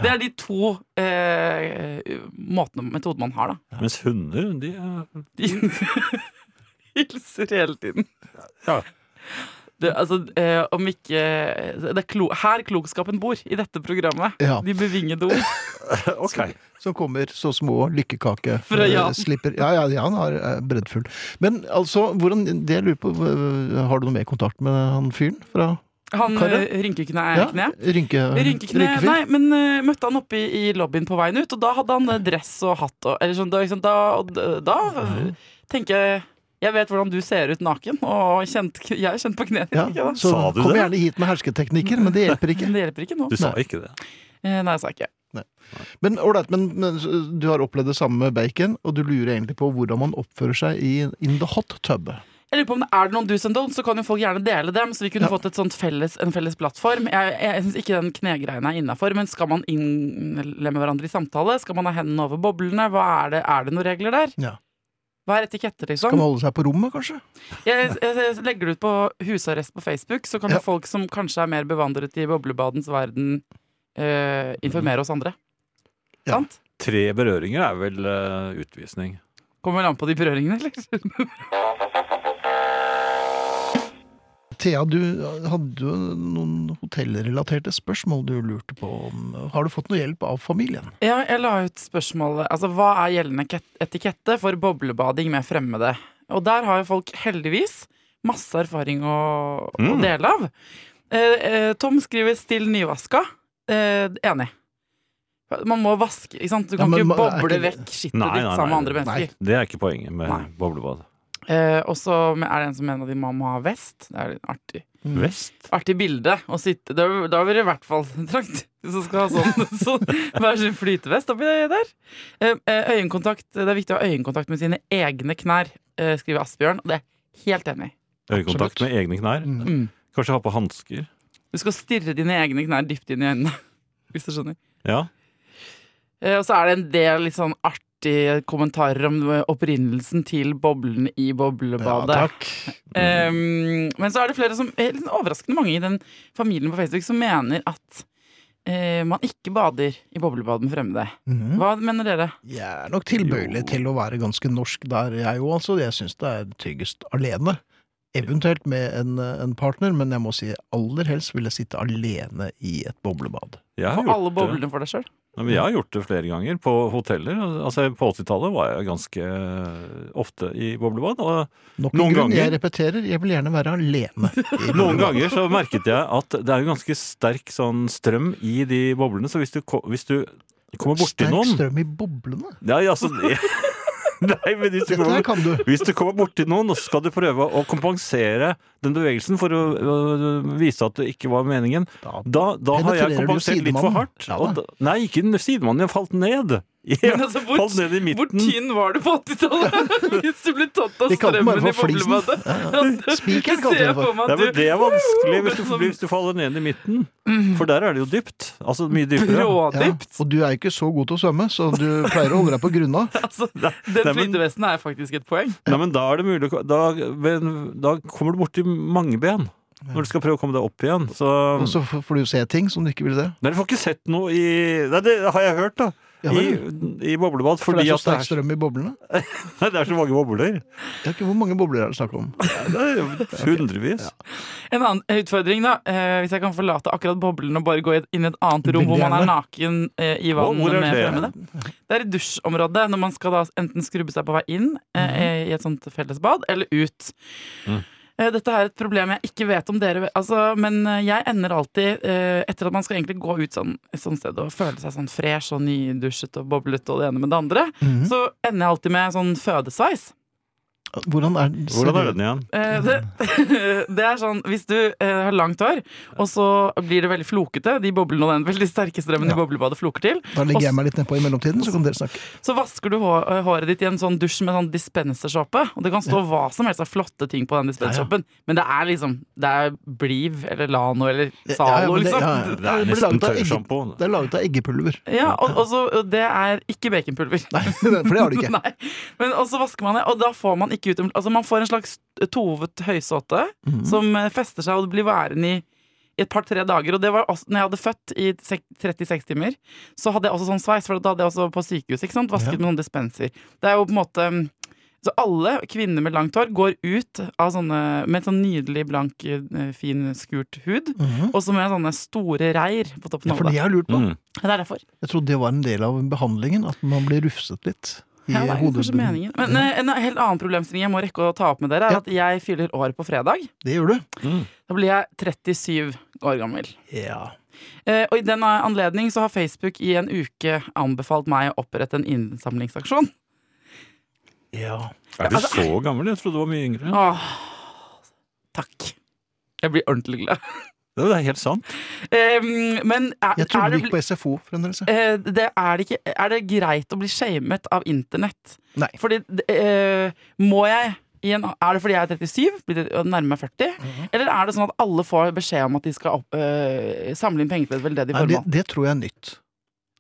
[SPEAKER 4] Det er de to eh, måtene, metodene man har, da.
[SPEAKER 3] Mens hunder, de er
[SPEAKER 4] De hilser hele tiden.
[SPEAKER 3] Ja.
[SPEAKER 4] Det, altså, eh, om ikke eh, det er klo, Her klokskapen bor, i dette programmet.
[SPEAKER 2] Ja.
[SPEAKER 4] De bevingede ord.
[SPEAKER 3] Ok.
[SPEAKER 2] Som kommer så små lykkekake
[SPEAKER 4] Fra
[SPEAKER 2] eh,
[SPEAKER 4] Jan.
[SPEAKER 2] Slipper. Ja, ja, Jan er eh, breddfull. Men altså, hvordan, det jeg lurer på, eh, har du noe mer kontakt med han fyren fra
[SPEAKER 4] Han
[SPEAKER 2] Karer?
[SPEAKER 4] eh, rynkekne er
[SPEAKER 2] ja,
[SPEAKER 4] kne.
[SPEAKER 2] Rynke, Eh,
[SPEAKER 4] Rynkekne,
[SPEAKER 2] rynkefyr?
[SPEAKER 4] nei, men eh, møtte han oppe i, i lobbyen på veien ut, og da hadde han eh, dress og hatt og Eller sånn, da, liksom, da, og d- da
[SPEAKER 2] Mhm.
[SPEAKER 4] tenker jeg Jeg vet hvordan du ser ut naken, og kjent, jeg er kjent på knærne.
[SPEAKER 2] Ja,
[SPEAKER 4] ikke da?
[SPEAKER 2] så
[SPEAKER 3] Sa du
[SPEAKER 2] kom
[SPEAKER 3] det?
[SPEAKER 2] gjerne hit med hersketeknikker, men det hjelper ikke.
[SPEAKER 4] Men det hjelper ikke nå.
[SPEAKER 3] Du sa ikke det.
[SPEAKER 4] Eh, Nei, sa jeg ikke.
[SPEAKER 2] Men, all right, men, men så du har opplevd det samme med bacon, og du lurer egentlig på hvordan man oppfører seg i in the hot tub.
[SPEAKER 4] Jeg lurer på om det er det noen do's and don'ts, så kan jo folk gjerne dele dem. Så vi kunne
[SPEAKER 2] Ja.
[SPEAKER 4] fått et sånt felles, en felles plattform. Jeg, jeg syns ikke den knegreien er innafor, men skal man innlemme hverandre i samtale? Skal man ha hendene over boblene? Hva er det, er det noen regler der?
[SPEAKER 2] Ja.
[SPEAKER 4] Hva er etikette,
[SPEAKER 2] Kan
[SPEAKER 4] liksom?
[SPEAKER 2] man holde seg på rommet, kanskje?
[SPEAKER 4] Jeg, jeg, jeg legger det ut på husarrest på Facebook, så kan
[SPEAKER 2] Ja.
[SPEAKER 4] jo folk som kanskje er mer bevandret i boblebadens verden, eh, informere oss andre.
[SPEAKER 2] Ja.
[SPEAKER 4] Sant?
[SPEAKER 3] Tre berøringer er vel eh, utvisning.
[SPEAKER 4] Kommer vel an på de berøringene, eller?
[SPEAKER 2] Thea, du hadde jo noen hotellrelaterte spørsmål du lurte på om. Har du fått noe hjelp av familien?
[SPEAKER 4] Ja, jeg la ut spørsmålet Altså, hva er gjeldende ket- etikette for boblebading med fremmede? Og der har jo folk heldigvis masse erfaring å, å
[SPEAKER 3] Mm.
[SPEAKER 4] dele av. Eh, eh, Tom skriver 'still nyvaska'. Eh, enig. Man må vaske, ikke sant? Du
[SPEAKER 2] Ja,
[SPEAKER 4] kan
[SPEAKER 2] men
[SPEAKER 4] ikke
[SPEAKER 2] man- er
[SPEAKER 4] boble
[SPEAKER 2] ikke-
[SPEAKER 4] vekk skittet
[SPEAKER 3] Nei,
[SPEAKER 4] ditt
[SPEAKER 3] nei,
[SPEAKER 4] sammen med
[SPEAKER 3] nei.
[SPEAKER 4] andre mennesker.
[SPEAKER 2] Nei.
[SPEAKER 3] Det er ikke poenget med
[SPEAKER 4] Nei.
[SPEAKER 3] boblebad.
[SPEAKER 4] Eh, og så er det en som mener at de må må ha vest. Det er litt artig.
[SPEAKER 3] Vest?
[SPEAKER 4] Artig bilde å sitte Da da vil det i hvert fall trangt. Hvis man skal ha sånn, sånn hver sin flytevest oppi det der. Eh, eh, øyekontakt, det er viktig å ha øyekontakt med sine egne knær, eh, skriver Asbjørn. Og det er jeg helt enig i.
[SPEAKER 3] Øyekontakt med egne knær.
[SPEAKER 2] Mm.
[SPEAKER 4] Mm.
[SPEAKER 3] Kanskje ha på hansker.
[SPEAKER 4] Du skal stirre dine egne knær dypt inn i øynene. Hvis du skjønner.
[SPEAKER 3] Ja.
[SPEAKER 4] Eh, og så er det en del litt sånn artige kommentarer om eh, opprinnelsen til boblene i boblebadet.
[SPEAKER 2] takk.
[SPEAKER 4] Um, men så er det flere som eh, litt overraskende mange i den familien på Facebook som mener at eh, man ikke bader i boblebad med fremmede.
[SPEAKER 3] Mm.
[SPEAKER 2] Mhm.
[SPEAKER 4] Hva mener dere?
[SPEAKER 2] Jeg er nok tilbøyelig
[SPEAKER 3] Jo.
[SPEAKER 2] til å være ganske norsk der, jeg òg, altså. Jeg syns det er tryggest alene. Eventuelt med en, en partner, men jeg må si aller helst vil jeg sitte alene i et boblebad.
[SPEAKER 3] Jeg har
[SPEAKER 4] Og alle
[SPEAKER 3] gjort det.
[SPEAKER 4] boblene for deg sjøl?
[SPEAKER 3] Nei, men jeg har gjort det flere ganger på hoteller. Altså, på 80-tallet var jeg ganske eh, ofte i boblebad. Og
[SPEAKER 2] Nok
[SPEAKER 3] Noen
[SPEAKER 2] en grunn,
[SPEAKER 3] ganger-
[SPEAKER 2] jeg repeterer, jeg vil gjerne være alene. i
[SPEAKER 3] noen
[SPEAKER 2] boblebad.
[SPEAKER 3] ganger så merket jeg at det er jo ganske sterk sånn strøm i de boblene. Så hvis du, ko- hvis du kommer borti
[SPEAKER 2] Sterk
[SPEAKER 3] noen
[SPEAKER 2] strøm i boblene.
[SPEAKER 3] Nei, altså det, Nei, men hvis du
[SPEAKER 2] Dette her
[SPEAKER 3] kommer
[SPEAKER 2] kan du.
[SPEAKER 3] hvis du kommer borti noen, så skal du prøve å kompensere den bevegelsen for å øh, vise at det ikke var meningen.
[SPEAKER 2] Da
[SPEAKER 3] Da, da har
[SPEAKER 2] Penetrerer
[SPEAKER 3] jeg
[SPEAKER 2] du
[SPEAKER 3] kompensert litt for
[SPEAKER 2] sidemannen?
[SPEAKER 3] hardt.
[SPEAKER 2] Ja da.
[SPEAKER 3] og da, nei, ikke den sidemannen. Jeg falt ned. Jeg
[SPEAKER 4] Men altså, hvor-
[SPEAKER 3] falt ned i
[SPEAKER 4] Hvor
[SPEAKER 3] midten.
[SPEAKER 4] tynn var du på 80-tallet? Hvis du ble tatt av
[SPEAKER 2] De kalte den bare
[SPEAKER 4] strømmen i
[SPEAKER 2] for flisen.
[SPEAKER 4] boblebadet? Altså,
[SPEAKER 2] Spikeren
[SPEAKER 4] ser
[SPEAKER 2] kalte de
[SPEAKER 4] jeg
[SPEAKER 2] det for.
[SPEAKER 4] for meg
[SPEAKER 3] Nei,
[SPEAKER 4] at
[SPEAKER 3] men
[SPEAKER 4] du
[SPEAKER 3] det er vanskelig hvis du,
[SPEAKER 4] Men som-
[SPEAKER 3] hvis du faller ned i midten. For der er det jo dypt. Altså mye dypere.
[SPEAKER 2] Ja,
[SPEAKER 4] Rådypt.
[SPEAKER 2] og du er jo ikke så god til å svømme, så du pleier å holde deg på grunna.
[SPEAKER 4] Altså,
[SPEAKER 3] nei,
[SPEAKER 4] den
[SPEAKER 3] men-
[SPEAKER 4] flytevesten er faktisk et poeng.
[SPEAKER 3] Nei, men da er det mulig å ko- Da, men da kommer du borti mange ben når du skal prøve å komme deg opp igjen. Så
[SPEAKER 2] Og så f- får du jo se ting som du ikke vil se.
[SPEAKER 3] Nei, du får ikke sett noe i Nei, det har jeg hørt, da.
[SPEAKER 2] Ja,
[SPEAKER 3] I,
[SPEAKER 2] vel.
[SPEAKER 3] I boblebad.
[SPEAKER 2] For
[SPEAKER 3] Fordi
[SPEAKER 2] det er så
[SPEAKER 3] at
[SPEAKER 2] sterk
[SPEAKER 3] det er,
[SPEAKER 2] strøm i boblene.
[SPEAKER 3] nei, det er så mange bobler.
[SPEAKER 2] Det er ikke hvor mange bobler er det snakk om.
[SPEAKER 3] Det er hundrevis.
[SPEAKER 4] En annen utfordring, da. Eh, hvis jeg kan forlate akkurat boblen og bare gå i et- inn i et annet rom hvor man er naken eh, i vann
[SPEAKER 3] Hvor er
[SPEAKER 4] med
[SPEAKER 3] det?
[SPEAKER 4] fremmede. Det er i dusjområdet, når man skal da enten skrubbe seg på vei inn eh, i et sånt fellesbad, eller ut.
[SPEAKER 3] Mhm.
[SPEAKER 4] Eh, Dette er et problem jeg ikke vet om dere altså, Men eh, jeg ender alltid, eh, etter at man skal egentlig gå ut sånn, et sånt sted og føle seg sånn fresh og
[SPEAKER 3] Mm.
[SPEAKER 4] nydusjet og boblete og det ene med det andre,
[SPEAKER 2] Mhm.
[SPEAKER 4] så ender jeg alltid med sånn fødesveis.
[SPEAKER 2] Hvordan er den?
[SPEAKER 3] Hvordan er den igjen?
[SPEAKER 4] Eh, det, det er sånn Hvis du eh, har langt hår, og så blir det veldig flokete De boblene og den veldig sterke strømmen i boblebadet floker til.
[SPEAKER 2] Da legger jeg meg litt nedpå i mellomtiden, så kan dere snakke.
[SPEAKER 4] Så vasker du hå- eh, håret ditt i en sånn dusj med sånn dispensersåpe. Og det kan stå hva som helst av flotte ting på den dispensersåpen, men det er liksom Det er Bliv eller Lano eller
[SPEAKER 2] Ja, ja,
[SPEAKER 4] Zalo,
[SPEAKER 2] men det-
[SPEAKER 4] liksom.
[SPEAKER 2] ja, ja.
[SPEAKER 3] Det er
[SPEAKER 2] Det blir
[SPEAKER 3] nesten
[SPEAKER 2] laget av egge-
[SPEAKER 3] tørrsjampo.
[SPEAKER 2] Det er laget av eggepulver.
[SPEAKER 4] Ja, og, og så, og det er ikke baconpulver.
[SPEAKER 2] Nei, for det har de ikke.
[SPEAKER 4] Nei. Men og så vasker man det, og da får man ikke ut Altså man får en slags tovet høysåte
[SPEAKER 2] Mhm.
[SPEAKER 4] som eh, fester seg og blir værende i i et par-tre dager. Og det var også, når jeg hadde født i sek- 36 timer, så hadde jeg også sånn sveis, for da hadde jeg også på sykehus, ikke sant? Vasket
[SPEAKER 2] Ja.
[SPEAKER 4] med noen dispenser. Det er jo på en måte mm, Så alle kvinner med langt hår går ut av sånne med sånn nydelig blank, eh, fin, skurt hud,
[SPEAKER 2] Mhm.
[SPEAKER 4] og så med sånne store reir på toppen
[SPEAKER 2] Ja,
[SPEAKER 4] av
[SPEAKER 2] for det
[SPEAKER 4] hodet.
[SPEAKER 2] jeg har lurt på.
[SPEAKER 3] Mm.
[SPEAKER 4] Det er derfor.
[SPEAKER 2] Jeg trodde det var en del av behandlingen, at man blir rufset litt. I
[SPEAKER 4] Ja, det er jo kanskje
[SPEAKER 2] hodebunnen.
[SPEAKER 4] meningen. Men eh, en helt annen problemstilling jeg må rekke å ta opp med dere, er
[SPEAKER 2] Ja.
[SPEAKER 4] at jeg fyller år på fredag.
[SPEAKER 2] Det gjør du.
[SPEAKER 3] Mm.
[SPEAKER 4] Da blir jeg 37 år gammel.
[SPEAKER 2] Ja.
[SPEAKER 4] Eh, og i den anledning så har Facebook i en uke anbefalt meg å opprette en innsamlingsaksjon.
[SPEAKER 2] ja.
[SPEAKER 3] Er
[SPEAKER 2] Altså,
[SPEAKER 3] du så gammel? Jeg trodde du var mye
[SPEAKER 2] Mm.
[SPEAKER 3] yngre.
[SPEAKER 4] Åh, takk. Jeg blir ordentlig glad.
[SPEAKER 3] Det er helt sant.
[SPEAKER 4] Eh, men er,
[SPEAKER 2] Jeg trodde
[SPEAKER 4] er
[SPEAKER 2] du gikk
[SPEAKER 4] det,
[SPEAKER 2] på SFO fremdeles. jeg.
[SPEAKER 4] eh, det, er, det ikke, er det greit å bli shamet av internett?
[SPEAKER 2] Nei.
[SPEAKER 4] Fordi eh, Må jeg i en, Er det fordi jeg er 37 blir det- og nærmer meg 40?
[SPEAKER 2] Mhm.
[SPEAKER 4] Eller er det sånn at alle får beskjed om at de skal opp, eh, samle inn penger til et veldedig
[SPEAKER 2] Nei, det,
[SPEAKER 4] formål?
[SPEAKER 2] det tror jeg er nytt.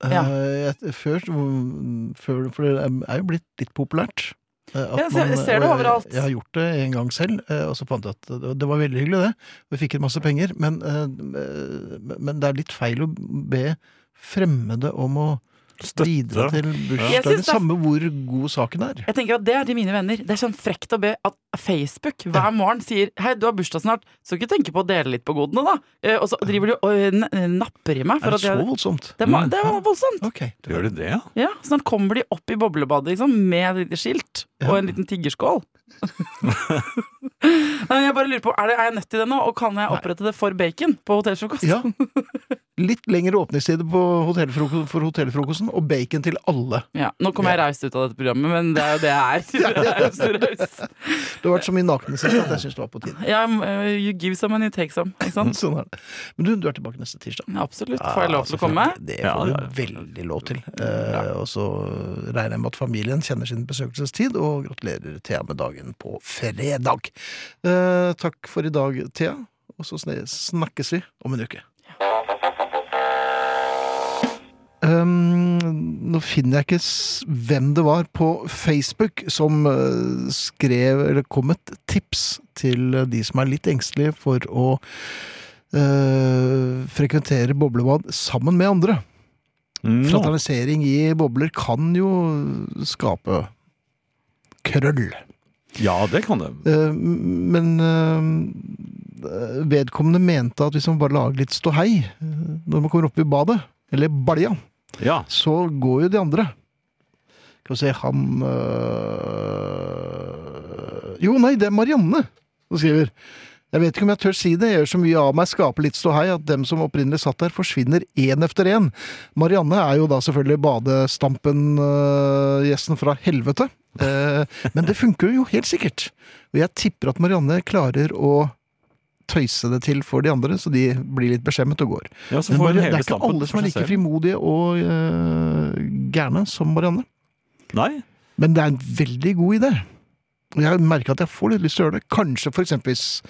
[SPEAKER 4] Ja.
[SPEAKER 2] Eh, jeg- Før, før For det er jo blitt litt populært. eh, at
[SPEAKER 4] Ja, jeg ser det
[SPEAKER 2] og jeg-
[SPEAKER 4] overalt.
[SPEAKER 2] Jeg har gjort det en gang selv, eh, og så fant jeg at det- det var veldig hyggelig, det. Vi fikk inn masse penger, men, eh, men det er litt feil å be fremmede om å bidra til
[SPEAKER 4] Jeg
[SPEAKER 2] bursdagen.
[SPEAKER 4] synes det er-
[SPEAKER 2] Samme hvor god saken er.
[SPEAKER 4] Jeg tenker at Det er til mine venner. Det er sånn frekt å be at Facebook hver morgen sier 'Hei, du har bursdag snart, så ikke tenke på å dele litt på godene', da. Eh, Og så driver de og eh, n- napper i meg. For
[SPEAKER 2] Er det Mm. så
[SPEAKER 4] at jeg,
[SPEAKER 2] voldsomt?
[SPEAKER 4] det, er, ma- det er voldsomt.
[SPEAKER 2] Ok.
[SPEAKER 3] Gjør de det, ja?
[SPEAKER 4] Ja, Snart kommer de opp i boblebadet liksom, med et lite skilt og en liten tiggerskål. Nei, jeg bare lurer på, er, det, er jeg nødt til det nå, og kan jeg opprette det for bacon på hotellfrokost?
[SPEAKER 2] Ja. Litt lengre åpningstid på hotellfroko- for hotellfrokosten, og bacon til alle.
[SPEAKER 4] Ja, Nå kom jeg raust ut av dette programmet, men det er jo det jeg er. Jeg er. så raus.
[SPEAKER 2] Det har vært så mye nakensex at jeg syns det var på tide.
[SPEAKER 4] Ja, eh, you give some and you take some. Ikke sant?
[SPEAKER 2] Sånn er det. Men du, du er tilbake neste tirsdag.
[SPEAKER 4] Absolutt. Får jeg lov til å
[SPEAKER 2] Ja,
[SPEAKER 4] komme?
[SPEAKER 2] selvfølgelig. Det
[SPEAKER 3] Ja,
[SPEAKER 2] får
[SPEAKER 3] ja, ja.
[SPEAKER 2] du veldig lov til. Eh, og så regner jeg med at familien kjenner sin besøkelsestid, og gratulerer Thea med dagen på fredag. Eh, takk for i dag, Thea. Og så sne- snakkes vi om en uke. Um, nå finner jeg ikke s- hvem det var på Facebook som eh, skrev eller kom med et tips til eh, de som er litt engstelige for å eh, frekventere boblebad sammen med andre.
[SPEAKER 3] Nå.
[SPEAKER 2] Fraternisering i bobler kan jo skape krøll.
[SPEAKER 3] Ja, det kan det.
[SPEAKER 2] Eh, Men eh, vedkommende mente at hvis man bare lager litt ståhei eh, når man kommer opp i badet, eller balja,
[SPEAKER 3] Ja.
[SPEAKER 2] så går jo de andre. Skal vi se Han øh... Jo, nei, det er Marianne som skriver. Jeg vet ikke om jeg tør si det. Jeg gjør så mye av meg, skaper litt ståhei, at dem som opprinnelig satt der, forsvinner én etter én. Marianne er jo da selvfølgelig badestampen-gjesten fra helvete. Eh, Men det funker jo helt sikkert. Og jeg tipper at Marianne klarer å tøyse det til for de andre, så de blir litt beskjemmet og går.
[SPEAKER 3] ja så
[SPEAKER 2] Men
[SPEAKER 3] får
[SPEAKER 2] Marianne-
[SPEAKER 3] hele
[SPEAKER 2] det er ikke
[SPEAKER 3] stampen
[SPEAKER 2] alle som
[SPEAKER 3] for
[SPEAKER 2] er
[SPEAKER 3] seg
[SPEAKER 2] like
[SPEAKER 3] selv.
[SPEAKER 2] frimodige og eh, gærne som Marianne.
[SPEAKER 3] Nei.
[SPEAKER 2] Men det er en veldig god idé. Og Jeg merker at jeg får litt lyst til å gjøre det. Kanskje for eksempel hvis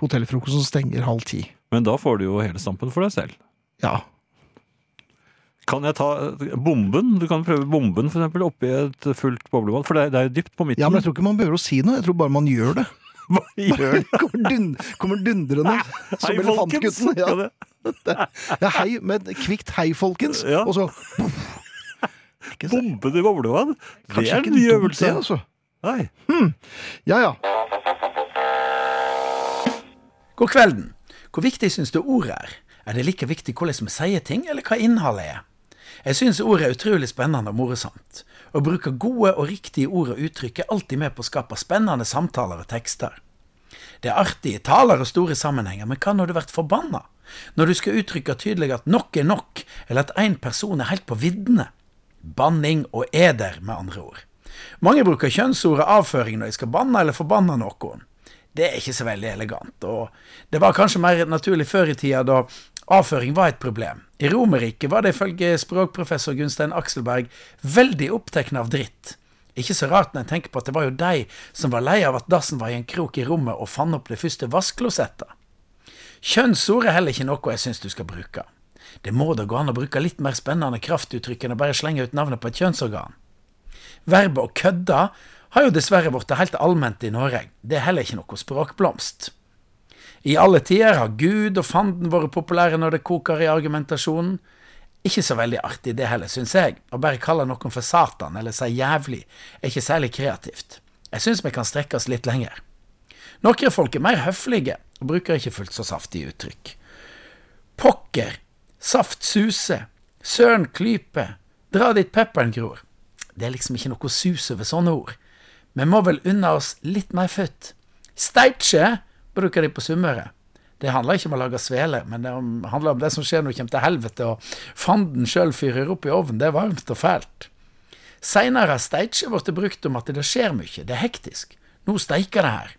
[SPEAKER 2] hotellfrokosten stenger halv ti.
[SPEAKER 3] Men da får du jo hele stampen for deg selv.
[SPEAKER 2] Ja.
[SPEAKER 3] Kan jeg ta eh, bomben? Du kan prøve bomben for eksempel, oppi et fullt boblebad. For det er, det er jo dypt på midten.
[SPEAKER 2] ja, men jeg tror ikke man behøver å si noe. Jeg tror bare man gjør det.
[SPEAKER 3] Hva gjør du?
[SPEAKER 2] Kommer, dun, kommer dundrende som
[SPEAKER 3] Hei, folkens!
[SPEAKER 2] elefantgutten. Ja.
[SPEAKER 3] Ja, det-
[SPEAKER 2] Ja, hei, med et kvikt 'hei, folkens',
[SPEAKER 3] Ja.
[SPEAKER 2] og så Ikke sant?
[SPEAKER 3] Bomben i boblebad? Det
[SPEAKER 2] Kanskje
[SPEAKER 3] er
[SPEAKER 2] ikke
[SPEAKER 3] en ny
[SPEAKER 2] dumt,
[SPEAKER 3] øvelse.
[SPEAKER 2] det, altså.
[SPEAKER 3] Nei.
[SPEAKER 2] Ja, ja.
[SPEAKER 5] God kvelden. Hvor viktig syns du ordet er? Er det like viktig hvordan vi sier ting, eller hva innholdet er? Jeg syns ordet er utrolig spennende og morsomt. Å bruke gode og riktige ord og uttrykk er alltid med på å skape spennende samtaler og tekster. Det er artige taler og store sammenhenger, men hva når du blir forbanna? Når du skal uttrykke tydelig at nok er nok, eller at én person er helt på viddene? Banning og eder, med andre ord. Mange bruker kjønnsordet avføring når de skal banne eller forbanne noen. Det er ikke så veldig elegant, og det var kanskje mer naturlig før i tida, da avføring var et problem. I Romerriket var det ifølge språkprofessor Gunstein Akselberg veldig opptatt av dritt. Ikke så rart når jeg tenker på at det var jo de som var lei av at dassen var i en krok i rommet og fant opp det første vaskeklossettet. Kjønnsord er heller ikke noe jeg syns du skal bruke. Det må da gå an å bruke litt mer spennende kraftuttrykk enn å bare slenge ut navnet på et kjønnsorgan. Verbet å kødde har jo dessverre blitt helt allment i Norge. Det er heller ikke noe språkblomst. I alle tider har Gud og fanden vært populære når det koker i argumentasjonen. Ikke så veldig artig det heller, syns jeg. Å bare kalle noen for Satan eller si jævlig er ikke særlig kreativt. Jeg syns vi kan strekke oss litt lenger. Noen folk er mer høflige og bruker ikke fullt så saftige uttrykk. Pokker, saft suse, søren klype, dra dit pepperen gror. Det er liksom ikke noe sus over sånne ord. Vi må vel unne oss litt mer futt. Steitje bruker de på Sunnmøre. Det handler ikke om å lage svele, men det om- handler om det som skjer når du kommer til helvete og fanden sjøl fyrer opp i ovnen. Det er varmt og fælt. Seinere har steitje blitt brukt om at det skjer mye, det er hektisk. Nå steiker det her.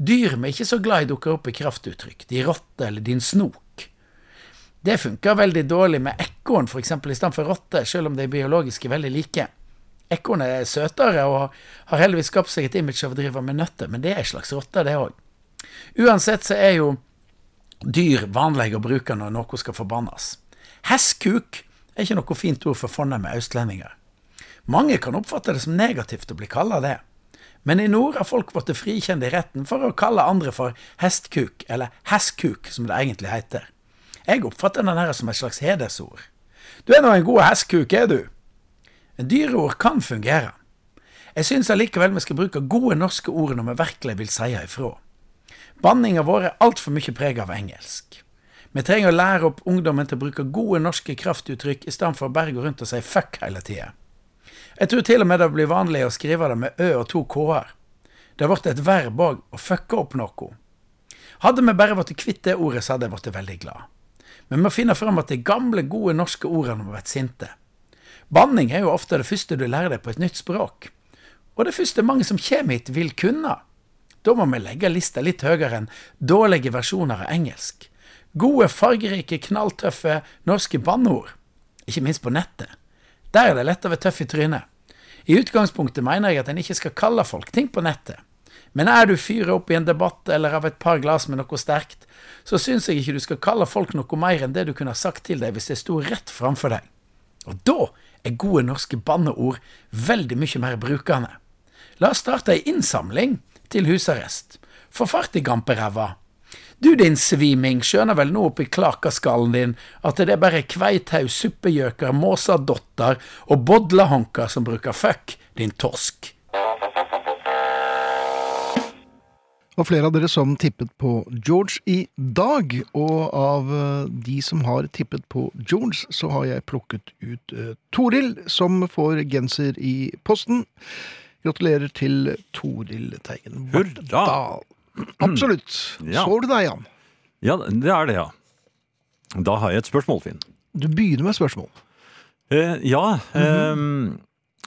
[SPEAKER 5] Dyr vi er ikke så glad i dukker opp i kraftuttrykk. De rotter eller din snok. Det funker veldig dårlig med ekorn for eksempel, i stedet for rotte, selv om de er biologisk veldig like. Ekorn er søtere og har heldigvis skapt seg et image av å drive med nøtter, men det er en slags rotte, det òg. Uansett så er jo dyr vanlige å bruke når noe skal forbannes. Hestkuk er ikke noe fint ord for fornemme østlendinger. Mange kan oppfatte det som negativt å bli kalla det. Men i nord har folk blitt frikjent i retten for å kalle andre for hestkuk, eller hestkuk, som det egentlig heter. Jeg oppfatter den her som et slags hedersord. Du er nå en god hestkuk, er du? Dyreord kan fungere. Jeg syns allikevel vi skal bruke gode norske ord når vi virkelig vil si ifra. Banninga vår er altfor mye preg av engelsk. Vi trenger å lære opp ungdommen til å bruke gode norske kraftuttrykk i stedet for å bare gå rundt og si fuck hele tida. Jeg tror til og med det blir vanlig å skrive det med ø og to k-er. Det har blitt et verb òg, å fucke opp noe. Hadde vi bare blitt kvitt det ordet, så hadde jeg blitt veldig glad. Men vi må finne fram at de gamle, gode norske ordene når vi blir sinte. Banning er jo ofte det første du lærer deg på et nytt språk. Og det første mange som kommer hit, vil kunne. Da må vi legge lista litt høyere enn dårlige versjoner av engelsk. Gode, fargerike, knalltøffe norske banneord. Ikke minst på nettet. Der er det lett å være tøff i trynet. I utgangspunktet mener jeg at en ikke skal kalle folk ting på nettet. Men er du fyret opp i en debatt eller av et par glass med noe sterkt, så syns jeg ikke du skal kalle folk noe mer enn det du kunne ha sagt til deg hvis det sto rett framfor deg. Og da er gode norske banneord veldig mye mer brukende. La oss starte ei innsamling til husarrest. Få fart i gamperæva. Du din sviming, skjønner vel nå oppi klakaskallen din at det er bare kveithaug, suppegjøker, måsadotter og bodlehonker som bruker fuck, din torsk.
[SPEAKER 2] Det var flere av dere som tippet på George i dag. Og av eh, de som har tippet på George, så har jeg plukket ut eh, Toril, som får genser i posten. Gratulerer til Toril Teigen.
[SPEAKER 3] Hurra!
[SPEAKER 2] Vartdal. Absolutt.
[SPEAKER 3] Ja.
[SPEAKER 2] Så du deg, Jan?
[SPEAKER 3] Ja, det er det, ja. Da har jeg et spørsmål, Finn.
[SPEAKER 2] Du begynner med spørsmål.
[SPEAKER 3] Eh, ja.
[SPEAKER 2] Mhm.
[SPEAKER 3] eh,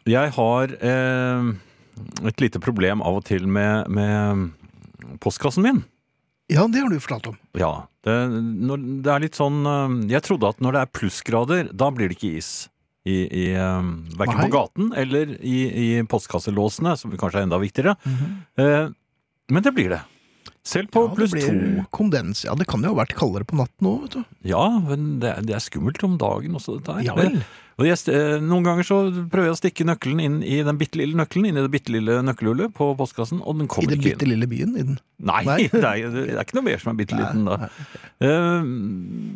[SPEAKER 3] jeg har eh, et lite problem av og til med, med postkassen min.
[SPEAKER 2] Ja, det har du fortalt om.
[SPEAKER 3] Ja. Det, når, det er litt sånn eh, Jeg trodde at når det er plussgrader, da blir det ikke is. I, i, eh, verken
[SPEAKER 2] Nei.
[SPEAKER 3] på gaten eller i, i postkasselåsene, som kanskje er enda viktigere. Eh, men det blir det. Selv
[SPEAKER 2] Mhm.
[SPEAKER 3] på
[SPEAKER 2] Ja, det
[SPEAKER 3] pluss
[SPEAKER 2] blir
[SPEAKER 3] to.
[SPEAKER 2] Kondens. Ja, det kan jo ha vært kaldere på natten òg, vet du.
[SPEAKER 3] Ja, men det, er- det er skummelt om dagen også, dette her.
[SPEAKER 2] Ja vel.
[SPEAKER 3] Og jeg, st- eh, noen ganger så prøver jeg å stikke nøkkelen inn i den bitte lille nøkkelen, inn i det bitte lille nøkkelhullet på postkassen, og den
[SPEAKER 2] I
[SPEAKER 3] kommer
[SPEAKER 2] den
[SPEAKER 3] ikke
[SPEAKER 2] bitte
[SPEAKER 3] inn.
[SPEAKER 2] lille byen. I den.
[SPEAKER 3] Nei,
[SPEAKER 2] Nei.
[SPEAKER 3] det, er, det er ikke noe mer som er bitte liten da. Eh,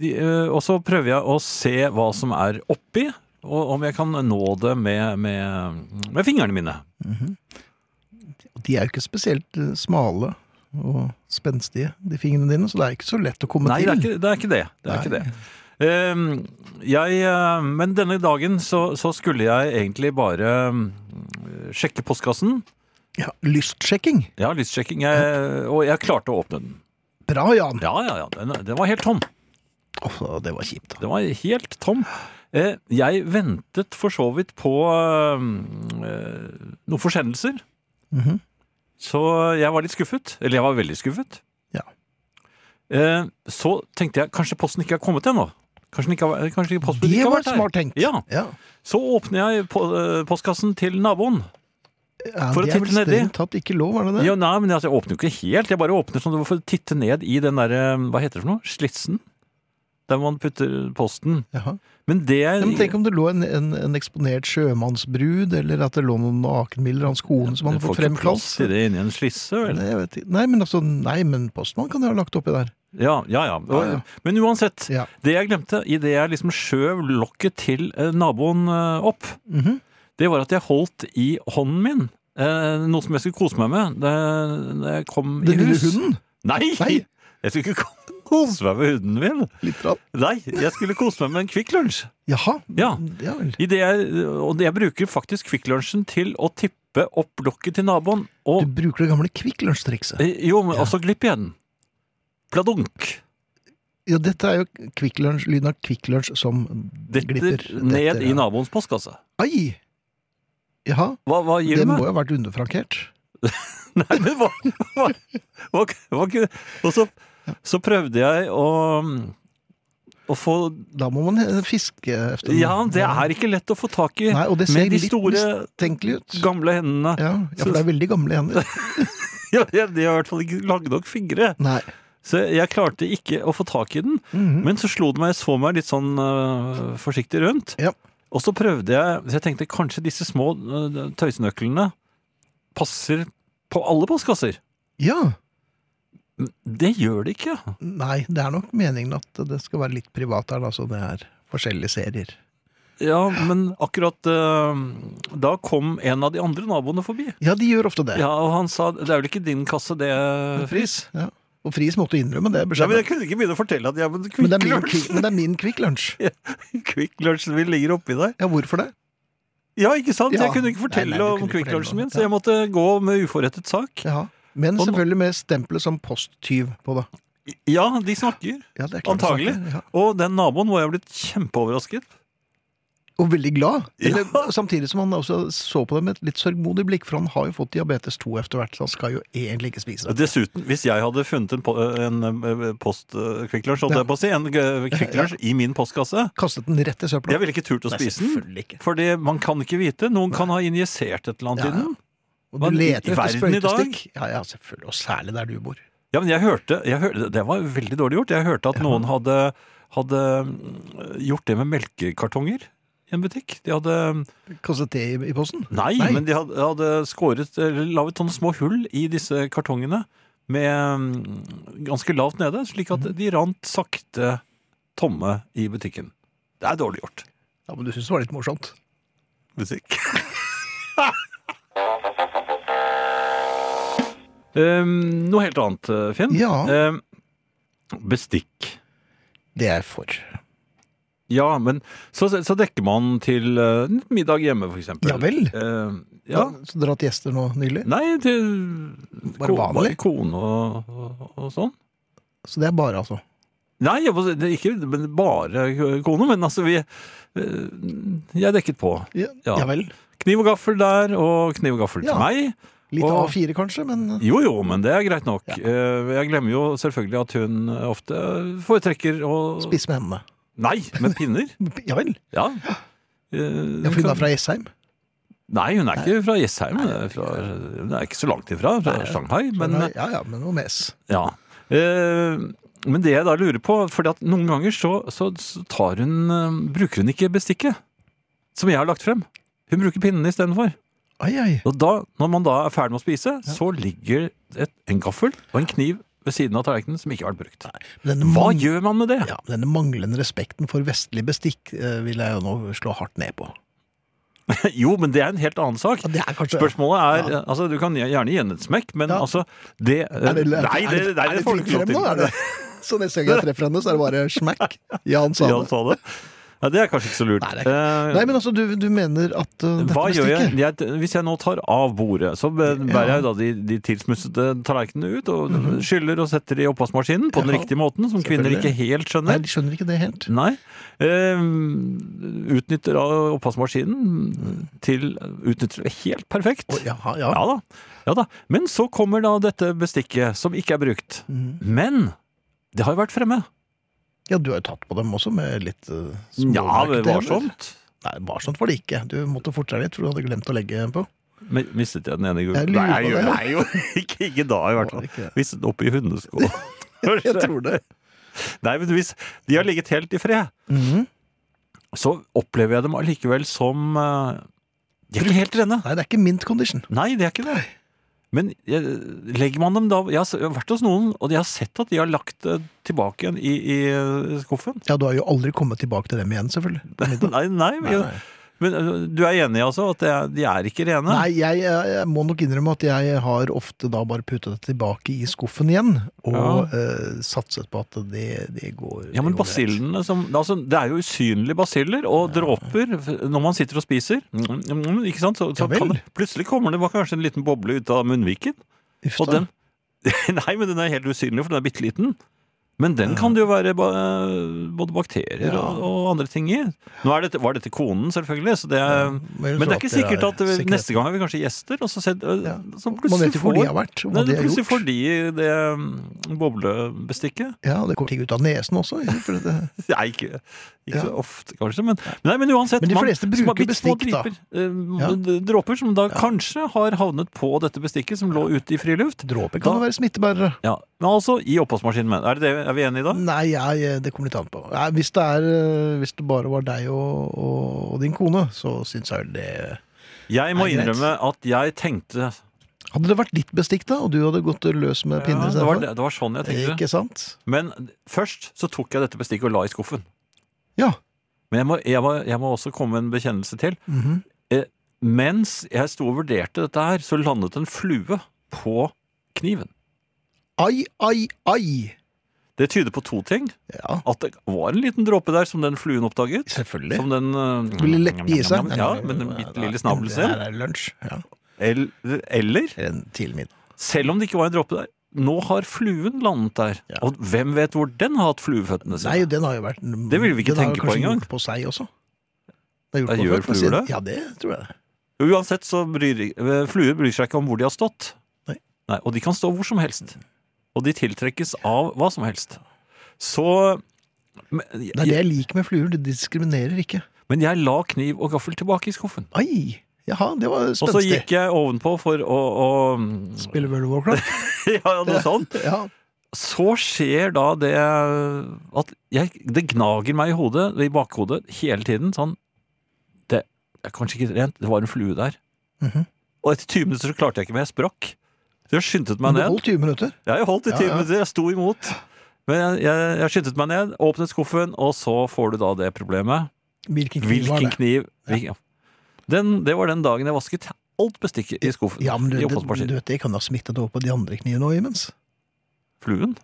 [SPEAKER 3] de, eh, og så prøver jeg å se hva som er oppi, og om jeg kan nå det med, med, med fingrene mine.
[SPEAKER 2] Og de er jo ikke spesielt eh, smale og spenstige, de fingrene dine, så det er ikke så lett å komme
[SPEAKER 3] Nei, det
[SPEAKER 2] til.
[SPEAKER 3] er ikke det. Er ikke det. det, er ikke
[SPEAKER 2] Nei.
[SPEAKER 3] det. Ehm, jeg, eh, men denne dagen så, så skulle jeg egentlig bare mm, sjekke postkassen.
[SPEAKER 2] Ja, lystsjekking.
[SPEAKER 3] Jeg har lystsjekking, jeg, og jeg klarte å åpne den.
[SPEAKER 2] Bra, Jan.
[SPEAKER 3] Ja, ja, ja, den, den var helt tom.
[SPEAKER 2] Åh, det var kjipt. da.
[SPEAKER 3] Den var helt tom. Eh, Jeg ventet for så vidt på eh, eh, noen forsendelser.
[SPEAKER 2] Mhm.
[SPEAKER 3] Så jeg var litt skuffet. Eller jeg var veldig skuffet.
[SPEAKER 2] Ja.
[SPEAKER 3] Eh, Så tenkte jeg kanskje posten ikke har kommet ennå. Kanskje, den ikke har, kanskje ikke postbudet
[SPEAKER 2] Det
[SPEAKER 3] ikke har
[SPEAKER 2] var
[SPEAKER 3] vært her.
[SPEAKER 2] smart tenkt.
[SPEAKER 3] Ja.
[SPEAKER 2] Ja.
[SPEAKER 3] Så åpner jeg po- eh, postkassen til naboen.
[SPEAKER 2] Ja,
[SPEAKER 3] For å
[SPEAKER 2] det er
[SPEAKER 3] titte
[SPEAKER 2] vel
[SPEAKER 3] nedi.
[SPEAKER 2] strengt tatt ikke lov, er det det?
[SPEAKER 3] Ja, nei, men altså, jeg åpner jo ikke helt. Jeg bare åpner sånn at du får titte ned i den der, eh, hva heter det for noe? Slitsen? Der man putter posten.
[SPEAKER 2] Jaha.
[SPEAKER 3] Men det
[SPEAKER 2] Ja,
[SPEAKER 3] er
[SPEAKER 2] Men tenk om det lå en, en, en eksponert sjømannsbrud, eller at det lå noen nakenbilder av hans kone som han
[SPEAKER 3] Du
[SPEAKER 2] hadde
[SPEAKER 3] får
[SPEAKER 2] fått
[SPEAKER 3] ikke plass
[SPEAKER 2] fremkalt.
[SPEAKER 3] til det inni en slisse, vel?
[SPEAKER 2] Nei, jeg vet ikke. Nei, men altså, nei, men postmann kan jeg ha lagt oppi der.
[SPEAKER 3] Ja, ja, ja.
[SPEAKER 2] Ja, ja.
[SPEAKER 3] Men uansett,
[SPEAKER 2] Ja.
[SPEAKER 3] det jeg glemte idet jeg liksom skjøv lokket til eh, naboen eh, opp,
[SPEAKER 2] Mhm.
[SPEAKER 3] det var at jeg holdt i hånden min eh, noe som jeg skulle kose meg med da da jeg kom i
[SPEAKER 2] Den lille
[SPEAKER 3] hus.
[SPEAKER 2] hunden?
[SPEAKER 3] Nei!
[SPEAKER 2] Nei.
[SPEAKER 3] Jeg skulle ikke ko- kose meg med hunden min.
[SPEAKER 2] Litt rann.
[SPEAKER 3] Nei, jeg skulle kose meg med en Kvikk Lunsj.
[SPEAKER 2] Jaha.
[SPEAKER 3] Ja.
[SPEAKER 2] ja vel.
[SPEAKER 3] I det jeg, og det jeg bruker faktisk Kvikk Lunsjen til å tippe opp lokket til naboen.
[SPEAKER 2] Du
[SPEAKER 3] Og
[SPEAKER 2] bruker det gamle Kvikk Lunsj-trikset.
[SPEAKER 3] eh, jo, men
[SPEAKER 2] Ja.
[SPEAKER 3] også glipp igjen. Pladunk.
[SPEAKER 2] Ja, dette er jo Kvikk Lunsj, lyden av Kvikk Lunsj som
[SPEAKER 3] Detter
[SPEAKER 2] glipper.
[SPEAKER 3] ned
[SPEAKER 2] Detter,
[SPEAKER 3] i
[SPEAKER 2] ja.
[SPEAKER 3] naboens postkasse.
[SPEAKER 2] Ai! Jaha.
[SPEAKER 3] Hva, hva gir
[SPEAKER 2] Det
[SPEAKER 3] du meg?
[SPEAKER 2] må jo ha vært underfrankert.
[SPEAKER 3] Nei, men hva, hva, hva, hva kunne Og så, så prøvde jeg å å få
[SPEAKER 2] Da må man eh, fiske efter den.
[SPEAKER 3] Ja, det er ikke lett å få tak i
[SPEAKER 2] Nei, og det ser
[SPEAKER 3] med de
[SPEAKER 2] litt
[SPEAKER 3] store,
[SPEAKER 2] mistenkelig ut.
[SPEAKER 3] gamle hendene.
[SPEAKER 2] Ja, ja, for det er veldig gamle hender.
[SPEAKER 3] Ja, de har i hvert fall ikke lagd nok fingre.
[SPEAKER 2] Nei.
[SPEAKER 3] Så jeg klarte ikke å få tak i den.
[SPEAKER 2] Mhm.
[SPEAKER 3] Men så slo det meg, jeg så meg litt sånn øh, forsiktig rundt.
[SPEAKER 2] Ja.
[SPEAKER 3] Og så prøvde jeg Så jeg tenkte kanskje disse små øh, tøysenøklene passer på alle postkasser.
[SPEAKER 2] Ja.
[SPEAKER 3] Det gjør de ikke.
[SPEAKER 2] Nei, det er nok meningen at det skal være litt privat her, da, så det er forskjellige serier.
[SPEAKER 3] Ja, men akkurat eh, da kom en av de andre naboene forbi.
[SPEAKER 2] Ja, de gjør ofte det.
[SPEAKER 3] Ja, og han sa det er vel ikke din kasse, det, Friis.
[SPEAKER 2] Ja. Og Friis måtte innrømme det.
[SPEAKER 3] Ja, men
[SPEAKER 2] beskjeden.
[SPEAKER 3] jeg kunne ikke begynne å fortelle at ja, men
[SPEAKER 2] men, det
[SPEAKER 3] Kvikk
[SPEAKER 2] er min,
[SPEAKER 3] Lunsj
[SPEAKER 2] kvikk- men det er min Kvikk Lunsj.
[SPEAKER 3] Kvikk Lunsjen min ligger oppi der.
[SPEAKER 2] Ja, hvorfor det?
[SPEAKER 3] Ja, ikke sant?
[SPEAKER 2] Ja.
[SPEAKER 3] Jeg kunne ikke fortelle
[SPEAKER 2] Nei, nei, du kunne
[SPEAKER 3] om
[SPEAKER 2] ikke
[SPEAKER 3] Kvikk
[SPEAKER 2] fortelle
[SPEAKER 3] Lunsjen
[SPEAKER 2] noe.
[SPEAKER 3] min, så jeg måtte gå med uforrettet sak.
[SPEAKER 2] Ja. Men
[SPEAKER 3] Og nå-
[SPEAKER 2] selvfølgelig med stempelet som posttyv på det.
[SPEAKER 3] Ja, de snakker.
[SPEAKER 2] Ja, det er klart
[SPEAKER 3] Antagelig.
[SPEAKER 2] det er sant, Ja.
[SPEAKER 3] Og den naboen må jeg ha blitt kjempeoverrasket.
[SPEAKER 2] Og veldig glad. Eller,
[SPEAKER 3] Ja.
[SPEAKER 2] Samtidig som han også så på det med et litt sørgmodig blikk, for han har jo fått diabetes 2 etter hvert, så han skal jo egentlig ikke spise det.
[SPEAKER 3] Dessuten, hvis jeg hadde funnet en, po- en eh, post eh, Kvikk Lunsj, holdt
[SPEAKER 2] Ja.
[SPEAKER 3] jeg på å si, en eh, Kvikk Lunsj i min postkasse,
[SPEAKER 2] Kastet den rett i søpla.
[SPEAKER 3] jeg ville ikke turt å
[SPEAKER 2] Nei,
[SPEAKER 3] spise den.
[SPEAKER 2] selvfølgelig ikke.
[SPEAKER 3] Fordi man kan ikke vite. Noen kan ha injisert et eller annet
[SPEAKER 2] Ja,
[SPEAKER 3] i den.
[SPEAKER 2] Og
[SPEAKER 3] Hva,
[SPEAKER 2] du
[SPEAKER 3] i- i
[SPEAKER 2] leter etter
[SPEAKER 3] verden i dag?
[SPEAKER 2] sprøytestikk. Ja, ja, selvfølgelig. Og særlig der du bor.
[SPEAKER 3] Ja, men jeg hørte, jeg hørte Det var veldig dårlig gjort. Jeg hørte at noen hadde, hadde mm, gjort det med melkekartonger i en butikk. De hadde
[SPEAKER 2] Kastet det i, i posten?
[SPEAKER 3] Nei,
[SPEAKER 2] Nei.
[SPEAKER 3] men de hadde, hadde skåret Eller laget sånne små hull i disse kartongene med mm, ganske lavt nede, slik at de rant sakte tomme i butikken. Det er dårlig gjort.
[SPEAKER 2] Ja, men du syns det var litt morsomt?
[SPEAKER 3] musikk. um, noe helt annet, Finn.
[SPEAKER 2] Ja.
[SPEAKER 3] Um, bestikk.
[SPEAKER 2] Det er jeg for.
[SPEAKER 3] Ja, men så, så dekker man til uh, middag hjemme, for eksempel.
[SPEAKER 2] Ja vel.
[SPEAKER 3] Um,
[SPEAKER 2] Ja.
[SPEAKER 3] ja.
[SPEAKER 2] Så dere har hatt gjester nå nylig?
[SPEAKER 3] Nei, til
[SPEAKER 2] Bare
[SPEAKER 3] ko-
[SPEAKER 2] vanlig?
[SPEAKER 3] kone og, og, og sånn.
[SPEAKER 2] Så det er bare, altså?
[SPEAKER 3] Nei, jeg, må si- det er ikke men bare kone, men altså vi uh, Jeg dekket på.
[SPEAKER 2] Ja,
[SPEAKER 3] Ja.
[SPEAKER 2] ja vel.
[SPEAKER 3] Kniv og gaffel der, og kniv og gaffel
[SPEAKER 2] Ja.
[SPEAKER 3] til meg.
[SPEAKER 2] Litt
[SPEAKER 3] Og-
[SPEAKER 2] A4 kanskje, men
[SPEAKER 3] Jo, jo, men det er greit nok.
[SPEAKER 2] Ja.
[SPEAKER 3] Eh, Jeg glemmer jo selvfølgelig at hun ofte foretrekker å
[SPEAKER 2] spiss med hendene.
[SPEAKER 3] Nei, med pinner.
[SPEAKER 2] Ja vel.
[SPEAKER 3] Ja.
[SPEAKER 2] Ja, for hun er fra Jessheim.
[SPEAKER 3] Nei, hun er ikke fra Jessheim. Hun er, fra, hun er ikke så langt ifra, fra
[SPEAKER 2] Nei.
[SPEAKER 3] Shanghai. Men,
[SPEAKER 2] ja, ja, men noe med S.
[SPEAKER 3] ja. Eh, men det jeg da lurer på fordi at noen ganger så, så så tar hun eh, Bruker hun ikke bestikket som jeg har lagt frem. Hun bruker pinnene istedenfor.
[SPEAKER 2] Ai, ai.
[SPEAKER 3] Og da, når man da er ferdig med å spise, så ligger et, en gaffel og en kniv ved siden av tallerkenen som ikke har vært brukt.
[SPEAKER 2] Men Denne,
[SPEAKER 3] Hva
[SPEAKER 2] man-
[SPEAKER 3] gjør man med det?
[SPEAKER 2] ja, men denne manglende respekten for vestlig bestikk eh, vil jeg jo nå slå hardt ned på.
[SPEAKER 3] Jo, men det er en helt annen sak.
[SPEAKER 2] Ja, det er kanskje
[SPEAKER 3] Spørsmålet er altså, Du kan gjerne gi henne et smekk, men
[SPEAKER 2] Ja.
[SPEAKER 3] altså det,
[SPEAKER 2] er det, er,
[SPEAKER 3] Nei, det,
[SPEAKER 2] er
[SPEAKER 3] nei,
[SPEAKER 2] er
[SPEAKER 3] det
[SPEAKER 2] det
[SPEAKER 3] får du
[SPEAKER 2] fritt
[SPEAKER 3] ikke lov
[SPEAKER 2] frem nå?
[SPEAKER 3] til.
[SPEAKER 2] Er det? Så neste gang jeg treffer henne, så er det bare smack. Jan sa
[SPEAKER 3] Ja, han
[SPEAKER 2] det.
[SPEAKER 3] sa det. Ja, det er kanskje ikke så lurt.
[SPEAKER 2] Nei, det er
[SPEAKER 3] Eh,
[SPEAKER 2] Nei, men altså, du, du mener at uh, dette
[SPEAKER 3] Hva
[SPEAKER 2] med
[SPEAKER 3] gjør jeg?
[SPEAKER 2] strikket
[SPEAKER 3] jeg? Hvis jeg nå tar av bordet, så bæ- bærer jeg jo da de, de tilsmussede tallerkenene ut og skyller og setter de i oppvaskmaskinen på den
[SPEAKER 2] Mhm. Ja,
[SPEAKER 3] riktige måten, som kvinner
[SPEAKER 2] selvfølgelig.
[SPEAKER 3] ikke helt
[SPEAKER 2] Nei,
[SPEAKER 3] skjønner.
[SPEAKER 2] de skjønner ikke det helt.
[SPEAKER 3] Nei. Eh, utnytter da oppvaskmaskinen til Utnytter det helt perfekt.
[SPEAKER 2] Mm. Å, jaha, ja.
[SPEAKER 3] Ja da. ja da. Men så kommer da dette bestikket, som ikke er brukt.
[SPEAKER 2] Mhm.
[SPEAKER 3] Men det har jo vært fremme.
[SPEAKER 2] ja, du har jo tatt på dem også med litt uh,
[SPEAKER 3] Ja,
[SPEAKER 2] småmerker til, eller?
[SPEAKER 3] varsomt.
[SPEAKER 2] Nei, varsomt var det ikke. Du måtte forte deg litt, for du hadde glemt å legge på.
[SPEAKER 3] Men mistet jeg den ene i går?
[SPEAKER 2] Jeg lurer
[SPEAKER 3] Nei,
[SPEAKER 2] på
[SPEAKER 3] jeg gjør-
[SPEAKER 2] det.
[SPEAKER 3] nei, jo ikke, ikke da, i hvert fall.
[SPEAKER 2] Ikke-
[SPEAKER 3] Hvis oppi hundesko
[SPEAKER 2] Jeg tror det.
[SPEAKER 3] Nei, men hvis de har ligget helt i fred,
[SPEAKER 2] Mhm.
[SPEAKER 3] så opplever jeg dem allikevel som eh, De er ikke helt rene.
[SPEAKER 2] Nei, det er ikke mint condition.
[SPEAKER 3] Nei, det er ikke det. Men eh, legger man dem da Jeg har s- jeg har vært hos noen, og jeg har sett at de har lagt det tilbake igjen i, i eh, skuffen.
[SPEAKER 2] Ja, du har jo aldri kommet tilbake til dem igjen, selvfølgelig.
[SPEAKER 3] Nei, nei,
[SPEAKER 2] Nei, nei.
[SPEAKER 3] Men eh, du er enig, altså? At det er, de er ikke rene?
[SPEAKER 2] Nei, jeg, jeg må nok innrømme at jeg har ofte da bare puttet det tilbake i skuffen igjen, og eh, satset på at det, det går
[SPEAKER 3] Ja, men
[SPEAKER 2] det går greit.
[SPEAKER 3] basillene som altså, Det er jo usynlige basiller og dråper f- når man sitter og spiser. Mm, mm, mm, Ikke sant? Så, så
[SPEAKER 2] Ja vel.
[SPEAKER 3] kan det, plutselig kommer det bare kanskje en liten boble ut av munnviken.
[SPEAKER 2] Uff
[SPEAKER 3] Og
[SPEAKER 2] da.
[SPEAKER 3] den Nei, men den er helt usynlig, for den er bitte liten. Men den kan det jo være ba- både bakterier
[SPEAKER 2] Ja.
[SPEAKER 3] og, og andre ting i. Nå er dette, var dette konen, selvfølgelig, så det er,
[SPEAKER 2] jeg
[SPEAKER 3] eh, men det
[SPEAKER 2] tror
[SPEAKER 3] er ikke
[SPEAKER 2] det
[SPEAKER 3] sikkert at
[SPEAKER 2] sikkerhet.
[SPEAKER 3] neste gang har vi kanskje gjester, og så, sett,
[SPEAKER 2] Ja.
[SPEAKER 3] så
[SPEAKER 2] Man
[SPEAKER 3] plutselig
[SPEAKER 2] vet jo hvor de har
[SPEAKER 3] får
[SPEAKER 2] vært, og
[SPEAKER 3] Nei,
[SPEAKER 2] hva de har
[SPEAKER 3] plutselig
[SPEAKER 2] gjort.
[SPEAKER 3] får de det mm, boblebestikket.
[SPEAKER 2] Ja, det kommer ting ut av nesen også. For det,
[SPEAKER 3] Nei, ikke, ikke
[SPEAKER 2] Ja.
[SPEAKER 3] så ofte, kanskje. Men, men, nei, men uansett.
[SPEAKER 2] Men de
[SPEAKER 3] man-
[SPEAKER 2] fleste
[SPEAKER 3] små-
[SPEAKER 2] bruker
[SPEAKER 3] bitte små
[SPEAKER 2] bestikk, da.
[SPEAKER 3] dryper, eh,
[SPEAKER 2] Ja.
[SPEAKER 3] d- Dråper som da
[SPEAKER 2] Ja.
[SPEAKER 3] kanskje har havnet på dette bestikket som lå ute i friluft.
[SPEAKER 2] dråper kan
[SPEAKER 3] Da-
[SPEAKER 2] jo være smittebærere.
[SPEAKER 3] Ja, men altså i oppvaskmaskinen. men Er, det det, er vi enige da?
[SPEAKER 2] Nei, jeg, det kommer litt an på. Nei, hvis, det er, eh, hvis det bare var deg og, og, og din kone, så syns jeg det
[SPEAKER 3] Jeg må
[SPEAKER 2] Nei, greit.
[SPEAKER 3] innrømme at jeg tenkte
[SPEAKER 2] Hadde det vært ditt bestikk, da, og du hadde gått løs med
[SPEAKER 3] ja,
[SPEAKER 2] pinner
[SPEAKER 3] det, var,
[SPEAKER 2] istedenfor?
[SPEAKER 3] det var sånn jeg tenkte.
[SPEAKER 2] Ikke sant?
[SPEAKER 3] Men først så tok jeg dette bestikket og la i skuffen.
[SPEAKER 2] Ja.
[SPEAKER 3] Men jeg må, jeg må, jeg må også komme med en bekjennelse til.
[SPEAKER 2] Mhm.
[SPEAKER 3] Mens jeg sto og vurderte dette her, så landet en flue på kniven.
[SPEAKER 2] Ai, ai, ai!
[SPEAKER 3] Det tyder på to ting.
[SPEAKER 2] Ja,
[SPEAKER 3] at det var en liten dråpe der som den fluen oppdaget.
[SPEAKER 2] selvfølgelig.
[SPEAKER 3] Som den eh,
[SPEAKER 2] Ville lekke i seg.
[SPEAKER 3] Ja, med den bitte lille snabelen
[SPEAKER 2] Det
[SPEAKER 3] sin.
[SPEAKER 2] her er lunsj. Ja.
[SPEAKER 3] Eller, eller,
[SPEAKER 2] En tidlig middag.
[SPEAKER 3] selv om det ikke var en dråpe der, nå har fluen landet der.
[SPEAKER 2] Ja.
[SPEAKER 3] Og hvem vet hvor den har hatt
[SPEAKER 2] Nei,
[SPEAKER 3] flueføttene sine?
[SPEAKER 2] den har jo vært
[SPEAKER 3] Det ville vi
[SPEAKER 2] den
[SPEAKER 3] ikke
[SPEAKER 2] har jo
[SPEAKER 3] tenke på
[SPEAKER 2] kanskje
[SPEAKER 3] engang.
[SPEAKER 2] gjort På seg også. Den
[SPEAKER 3] Da
[SPEAKER 2] har
[SPEAKER 3] gjør
[SPEAKER 2] gjort på føttene
[SPEAKER 3] fluer
[SPEAKER 2] sine.
[SPEAKER 3] det?
[SPEAKER 2] Ja, det tror jeg.
[SPEAKER 3] Uansett så bryr eh, fluer bryr seg ikke om hvor de har stått.
[SPEAKER 2] Nei.
[SPEAKER 3] og de kan stå hvor som helst. Og de tiltrekkes av hva som helst. Så men,
[SPEAKER 2] Det er det jeg liker med fluer. De diskriminerer ikke.
[SPEAKER 3] men jeg la kniv og gaffel tilbake i skuffen.
[SPEAKER 2] Ai! Jaha, det var
[SPEAKER 3] Og så
[SPEAKER 2] spenstig.
[SPEAKER 3] gikk jeg ovenpå for å, å
[SPEAKER 2] Spiller World of Warcraft.
[SPEAKER 3] Ja, noe sånt.
[SPEAKER 2] Ja.
[SPEAKER 3] så skjer da det at jeg, det gnager meg i hodet, i bakhodet, hele tiden. Sånn Det er kanskje ikke rent, det var en flue der.
[SPEAKER 2] Mhm.
[SPEAKER 3] Og etter 20 minutter så klarte jeg ikke mer, jeg sprakk. Så jeg skyndte
[SPEAKER 2] Men
[SPEAKER 3] meg
[SPEAKER 2] det
[SPEAKER 3] ned.
[SPEAKER 2] holdt 20 minutter.
[SPEAKER 3] Ja, Jeg holdt i
[SPEAKER 2] Ja,
[SPEAKER 3] 20
[SPEAKER 2] ja.
[SPEAKER 3] minutter, jeg sto imot. Men jeg, jeg, jeg skyndte meg ned, åpnet skuffen, og så får du da det problemet.
[SPEAKER 2] Hvilken kniv var
[SPEAKER 3] Hvilken
[SPEAKER 2] det?
[SPEAKER 3] kniv hvilken- Den, Det var den dagen jeg vasket alt bestikket i skuffen.
[SPEAKER 2] Ja, men du,
[SPEAKER 3] i
[SPEAKER 2] det,
[SPEAKER 3] oppvaskmaskinen.
[SPEAKER 2] du vet, det kan ha smittet over på de andre knivene òg imens.
[SPEAKER 3] Fluen.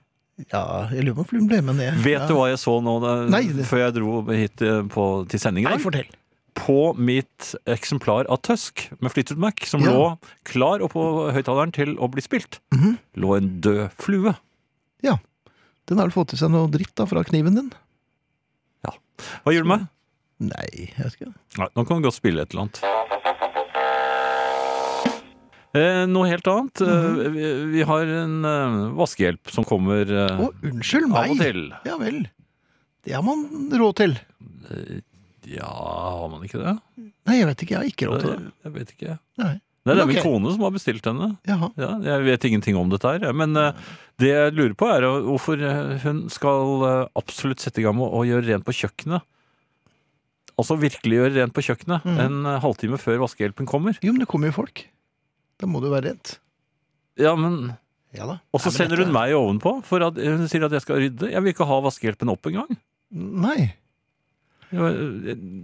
[SPEAKER 2] Ja, jeg lurer på om fluen ble med ned.
[SPEAKER 3] Vet
[SPEAKER 2] ja.
[SPEAKER 3] du hva jeg så nå da,
[SPEAKER 2] Nei, det-
[SPEAKER 3] før jeg dro hit eh, på, til sending? i
[SPEAKER 2] Nei,
[SPEAKER 3] dag?
[SPEAKER 2] fortell.
[SPEAKER 3] på mitt eksemplar av Tusk med Flyttet Mac, som
[SPEAKER 2] Ja.
[SPEAKER 3] lå klar oppå høyttaleren til å bli spilt,
[SPEAKER 2] Mhm.
[SPEAKER 3] lå en død flue.
[SPEAKER 2] Den har vel fått i seg noe dritt da fra kniven din?
[SPEAKER 3] Hva gjør du med?
[SPEAKER 2] Nei, jeg vet ikke.
[SPEAKER 3] Nei, nå kan du godt spille et eller annet. Eh, noe helt annet.
[SPEAKER 2] Mhm.
[SPEAKER 3] Eh, vi, vi har en eh, vaskehjelp som kommer eh,
[SPEAKER 2] Å, unnskyld
[SPEAKER 3] av og
[SPEAKER 2] meg!
[SPEAKER 3] til.
[SPEAKER 2] Ja vel. Det har man råd til.
[SPEAKER 3] Ja, har man ikke det? Eh,
[SPEAKER 2] Nei, jeg vet ikke. Jeg har ikke råd til det.
[SPEAKER 3] Jeg, jeg vet ikke.
[SPEAKER 2] Nei.
[SPEAKER 3] Nei, det er
[SPEAKER 2] Men
[SPEAKER 3] min
[SPEAKER 2] ok.
[SPEAKER 3] kone som har bestilt henne.
[SPEAKER 2] Jaha.
[SPEAKER 3] Ja, jeg vet ingenting om dette her, jeg, men eh, det jeg lurer på er eh, hvorfor eh, hun skal eh, absolutt sette i gang med å gjøre rent på kjøkkenet. Altså virkelig gjøre rent på kjøkkenet
[SPEAKER 2] Mhm.
[SPEAKER 3] en eh, halvtime før vaskehjelpen kommer.
[SPEAKER 2] Jo, men det kommer jo folk. Da må du være rent.
[SPEAKER 3] Ja, men...
[SPEAKER 2] Ja da.
[SPEAKER 3] Og så sender hun meg ovenpå, for at hun sier at jeg skal rydde. Jeg vil ikke ha vaskehjelpen opp engang.
[SPEAKER 2] Nei.
[SPEAKER 3] eh,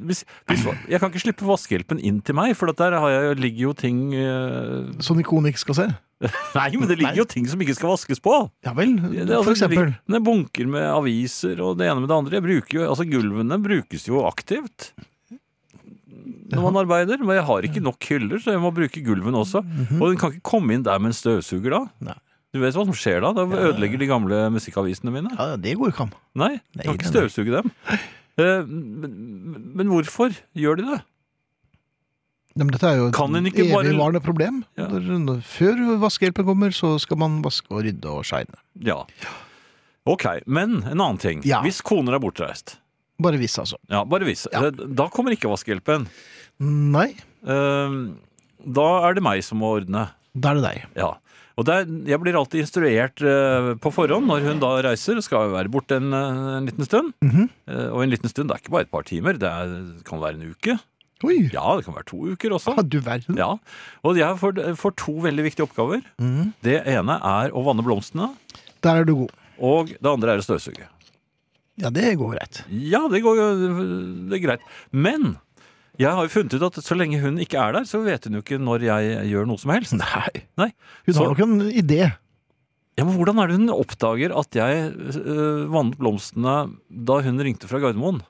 [SPEAKER 3] Hvis, hvis, jeg kan ikke slippe vaskehjelpen inn til meg, for at der har jeg, ligger jo ting eh,
[SPEAKER 2] Sånn ikon ikke skal se.
[SPEAKER 3] Nei, men det ligger jo ting som ikke skal vaskes på!
[SPEAKER 2] Ja vel,
[SPEAKER 3] Det, det,
[SPEAKER 2] for
[SPEAKER 3] altså, det
[SPEAKER 2] eksempel.
[SPEAKER 3] ligger- det er bunker med aviser og det ene med det andre. Jeg bruker jo, altså Gulvene brukes jo aktivt når man arbeider. Men jeg har ikke nok hyller, så jeg må bruke gulven også. Og den kan ikke komme inn der med en støvsuger da.
[SPEAKER 2] Mhm. Nei.
[SPEAKER 3] Du vet hva som skjer da? Da ødelegger de gamle musikkavisene mine.
[SPEAKER 2] Ja, det går ikke an.
[SPEAKER 3] Nei, jeg kan
[SPEAKER 2] Nei, nei,
[SPEAKER 3] ikke
[SPEAKER 2] nei.
[SPEAKER 3] støvsuge dem. Eh, Men, men hvorfor gjør de det?
[SPEAKER 2] Ja, men dette er jo et
[SPEAKER 3] Kan en ikke bare-
[SPEAKER 2] evigvarende problem.
[SPEAKER 3] Ja.
[SPEAKER 2] Når, når, før vaskehjelpen kommer, så skal man vaske og rydde og shine.
[SPEAKER 3] Ja. Ok, men en annen ting.
[SPEAKER 2] Ja.
[SPEAKER 3] Hvis koner er bortreist,
[SPEAKER 2] Bare hvis, altså.
[SPEAKER 3] ja, bare hvis,
[SPEAKER 2] Ja.
[SPEAKER 3] eh, da kommer ikke vaskehjelpen.
[SPEAKER 2] Nei,
[SPEAKER 3] Eh, Da er det meg som må ordne.
[SPEAKER 2] da er det deg.
[SPEAKER 3] Ja. Og der, jeg blir alltid instruert eh, på forhånd når hun da reiser. Skal jo være borte en, eh, en liten stund.
[SPEAKER 2] Mhm.
[SPEAKER 3] Eh, og en liten stund det er ikke bare et par timer. Det er, kan være en uke.
[SPEAKER 2] Oi!
[SPEAKER 3] Ja, det kan være to uker også.
[SPEAKER 2] Ja, du verden.
[SPEAKER 3] Ja. Og jeg får, får to veldig viktige oppgaver.
[SPEAKER 2] Mhm.
[SPEAKER 3] Det ene er å vanne blomstene.
[SPEAKER 2] Der er du god.
[SPEAKER 3] Og det andre er å støvsuge.
[SPEAKER 2] Ja, det går greit.
[SPEAKER 3] Ja, det går jo det er greit. Men jeg har jo funnet ut at så lenge hun ikke er der, så vet hun jo ikke når jeg gjør noe som helst.
[SPEAKER 2] Nei.
[SPEAKER 3] Nei.
[SPEAKER 2] Hun
[SPEAKER 3] Så-
[SPEAKER 2] har nok en idé.
[SPEAKER 3] Ja, men Hvordan er det hun oppdager at jeg øh, vannet blomstene da hun ringte fra Gardermoen?